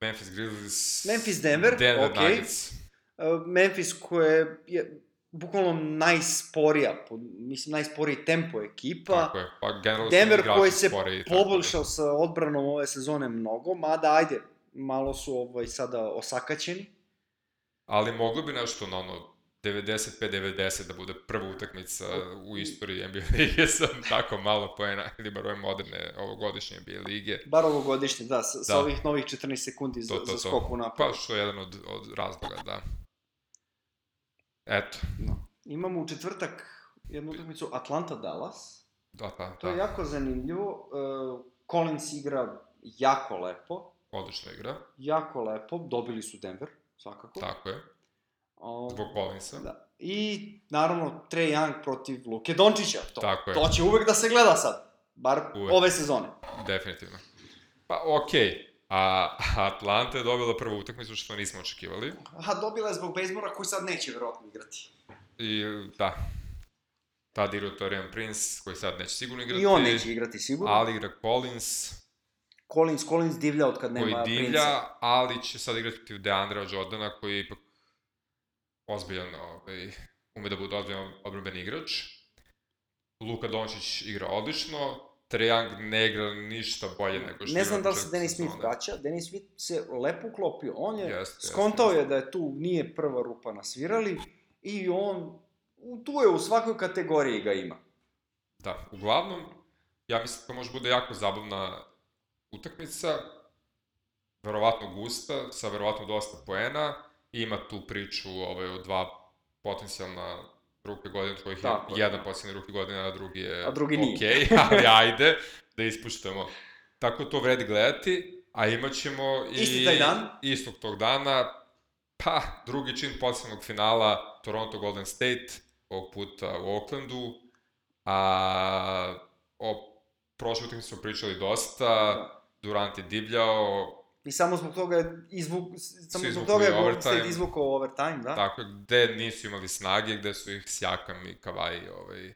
Speaker 2: Memphis Grizzlies...
Speaker 1: Memphis Denver,
Speaker 2: Denver
Speaker 1: okej.
Speaker 2: Nuggets.
Speaker 1: Uh, Memphis koja je bukvalno najsporija, po, mislim najsporiji tempo ekipa,
Speaker 2: Tako je. Pa generalno su
Speaker 1: Denver
Speaker 2: igrači
Speaker 1: koji se
Speaker 2: spori i tako da.
Speaker 1: poboljšao sa odbranom ove sezone mnogo, mada ajde, malo su ovaj sada osakaćeni.
Speaker 2: Ali moglo bi nešto na ono 95-90 da bude prva utakmica u istoriji NBA lige sa tako malo poena ili bar ove moderne ovogodišnje NBA lige.
Speaker 1: Bar ovogodišnje, da, sa, da. sa
Speaker 2: Da.
Speaker 1: ovih novih 14 sekundi za,
Speaker 2: To, to,
Speaker 1: za
Speaker 2: to.
Speaker 1: skoku napad.
Speaker 2: Pa što je jedan od, od razloga, da. Eto,
Speaker 1: No. Imamo u četvrtak jednu utakmicu Atlanta-Dallas.
Speaker 2: da, da,
Speaker 1: To
Speaker 2: da,
Speaker 1: je jako zanimljivo. Uh, Collins igra jako lepo.
Speaker 2: odlična igra,
Speaker 1: jako lepo, dobili su Denver, svakako.
Speaker 2: tako je,
Speaker 1: O,
Speaker 2: zbog Collinsa. Da.
Speaker 1: da. I, naravno, Trae Young protiv Luke Dončića. To,
Speaker 2: Tako je.
Speaker 1: to će uvek da se gleda sad, bar
Speaker 2: Uvek.
Speaker 1: uvek. ove sezone.
Speaker 2: Definitivno. Pa, okej, a Atlanta je dobila prvu utakmicu što nismo očekivali.
Speaker 1: Aha, dobila je zbog bejzbora koji sad neće verovatno igrati.
Speaker 2: I da, tad igrao Torian Prince, koji sad neće sigurno igrati.
Speaker 1: I on neće igrati sigurno. Ali...
Speaker 2: Ali igra Collins,
Speaker 1: Collins, Collins divlja od kad nema
Speaker 2: koji divlja,
Speaker 1: princa.
Speaker 2: ali će sad igrati protiv Deandra Jordana, koji je ipak ozbiljan, ovaj, ume da bude ozbiljan odbroben igrač. Luka Dončić igra odlično, Trejang ne igra ništa bolje nego što
Speaker 1: Ne
Speaker 2: igra
Speaker 1: znam
Speaker 2: na
Speaker 1: da li se
Speaker 2: početku
Speaker 1: Dennis Smith
Speaker 2: sezone.
Speaker 1: vraća. Dennis Smith se lepo uklopio. On je,
Speaker 2: Jeste,
Speaker 1: skontao
Speaker 2: jeste,
Speaker 1: je da je tu nije prva rupa na svirali i on u- tu je u svakoj kategoriji ga ima.
Speaker 2: Da, uglavnom, ja mislim da to može bude jako zabavna utakmica, verovatno gusta, sa verovatno dosta poena, i ima tu priču ovaj, o dva potencijalna ruke godine, od kojih
Speaker 1: Tako
Speaker 2: je
Speaker 1: je. da.
Speaker 2: jedan potencijalni ruke godine, a drugi je
Speaker 1: A drugi nije.
Speaker 2: okej, ali ajde, da ispuštamo. Tako to vredi gledati, a imat ćemo i...
Speaker 1: Isti taj dan?
Speaker 2: Istog tog dana, pa, drugi čin potencijalnog finala Toronto Golden State, ovog puta u Oaklandu, a o prošloj utakmici smo pričali dosta,
Speaker 1: Da.
Speaker 2: Durant je divljao,
Speaker 1: I samo zbog toga je izvuk, samo zbog
Speaker 2: Svi izvukli
Speaker 1: toga je Golden
Speaker 2: overtime.
Speaker 1: State izvukao overtime, da?
Speaker 2: tako je, gde nisu imali snage, gde su ih Sjakam i Kavaj ovaj,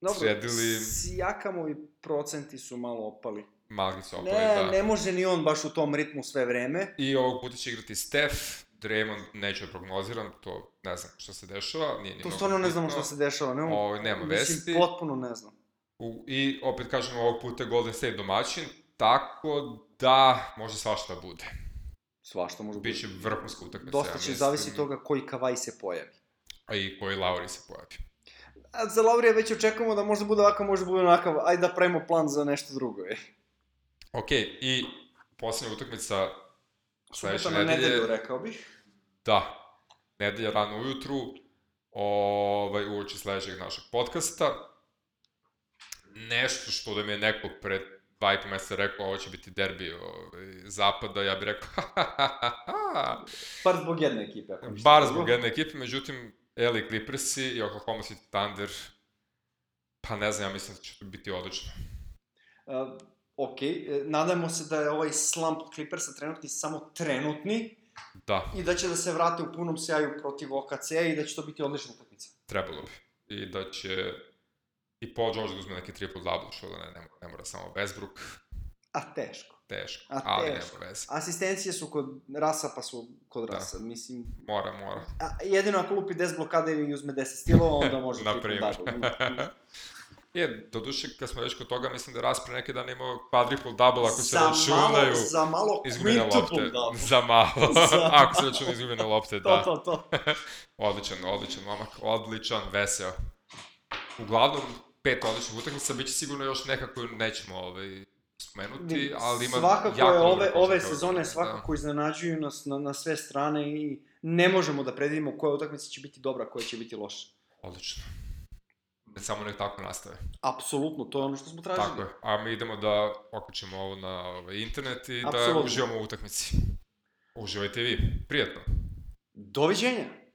Speaker 1: Dobro,
Speaker 2: Sredili-
Speaker 1: Sijakamovi procenti su malo opali.
Speaker 2: Mali su opali,
Speaker 1: Ne,
Speaker 2: da.
Speaker 1: ne može ni on baš u tom ritmu sve vreme.
Speaker 2: I ovog puta će igrati Steph, Draymond neću da prognoziram, to ne znam šta se dešava. Nije, ni
Speaker 1: To
Speaker 2: mnogo
Speaker 1: stvarno ne znamo
Speaker 2: bitno.
Speaker 1: šta se dešava. Nemamo,
Speaker 2: Ovo, nema vesti.
Speaker 1: Mislim, potpuno ne znam.
Speaker 2: U, I opet kažem, ovog puta je Golden State domaćin, tako da može svašta da bude.
Speaker 1: Svašta može
Speaker 2: Biće vrhunska utakmica.
Speaker 1: da Dosta će
Speaker 2: ja mislim.
Speaker 1: zavisiti toga koji Kavaj se pojavi.
Speaker 2: A i koji Lauri se pojavi.
Speaker 1: A za Laurija već očekujemo da možda bude ovakav, možda bude onakav. Ajde da pravimo plan za nešto drugo. Je.
Speaker 2: Ok, i posljednja utakmica sledeće
Speaker 1: Subota na nedelju,
Speaker 2: nedelje.
Speaker 1: rekao bih.
Speaker 2: Da, nedelja rano ujutru, ovaj, uoči sledećeg našeg podcasta. Nešto što da mi je neko pred dva i po meseca rekao, ovo će biti derbi ovaj, zapada, ja bih rekao, ha, ha, ha, ha, ha.
Speaker 1: Par zbog jedne ekipe. Ako ništa
Speaker 2: Bar
Speaker 1: drugo.
Speaker 2: zbog jedne ekipe, međutim, LA Clippersi i Oklahoma City Thunder, pa ne znam, ja mislim da će to biti odlično.
Speaker 1: Uh, ok, e, nadajmo se da je ovaj slump Clippersa trenutni samo trenutni
Speaker 2: Da,
Speaker 1: i da će da se vrate u punom sjaju protiv OKC-a i da će to biti odlična utakmica.
Speaker 2: trebalo bi. I da će i Paul George da uzme neki triple double, što da ne, ne, ne mora samo Westbrook,
Speaker 1: A teško.
Speaker 2: teško,
Speaker 1: A
Speaker 2: ali
Speaker 1: teško.
Speaker 2: nema veze.
Speaker 1: Asistencije su kod Rasa pa su kod
Speaker 2: Da.
Speaker 1: Rasa, mislim.
Speaker 2: Mora, mora.
Speaker 1: A, jedino ako lupi 10 blokada i uzme 10 stilova, onda može
Speaker 2: Na
Speaker 1: triple
Speaker 2: primer.
Speaker 1: double.
Speaker 2: Je, doduše, kad smo već kod toga, mislim da je raspre neki dan imao quadruple double ako se
Speaker 1: Za malo,
Speaker 2: računaju
Speaker 1: za malo
Speaker 2: izgubljene
Speaker 1: quintuple
Speaker 2: lopte.
Speaker 1: double.
Speaker 2: Za malo,
Speaker 1: Za-
Speaker 2: ako se računaju izgubljene lopte,
Speaker 1: To,
Speaker 2: da.
Speaker 1: to, to.
Speaker 2: Odličan, odličan momak, odličan, veseo. Uglavnom, pet odličnih utakmica, bit će sigurno još neka koju nećemo ovaj, spomenuti, ali ima
Speaker 1: svakako
Speaker 2: jako
Speaker 1: je
Speaker 2: dobre
Speaker 1: ove,
Speaker 2: da.
Speaker 1: ove
Speaker 2: postavke
Speaker 1: sezone
Speaker 2: utakmice,
Speaker 1: svakako iznenađuju nas na, na sve strane i ne možemo da predvidimo koja utakmica će biti dobra, a koja će biti loša.
Speaker 2: Da, odlično. Ne samo nek tako nastave.
Speaker 1: Apsolutno, to je ono što smo tražili.
Speaker 2: Tako je. A mi idemo da okačimo ovo na ovaj, internet i da
Speaker 1: Apsolutno.
Speaker 2: uživamo u utakmici. Uživajte i vi. Prijetno.
Speaker 1: Doviđenja!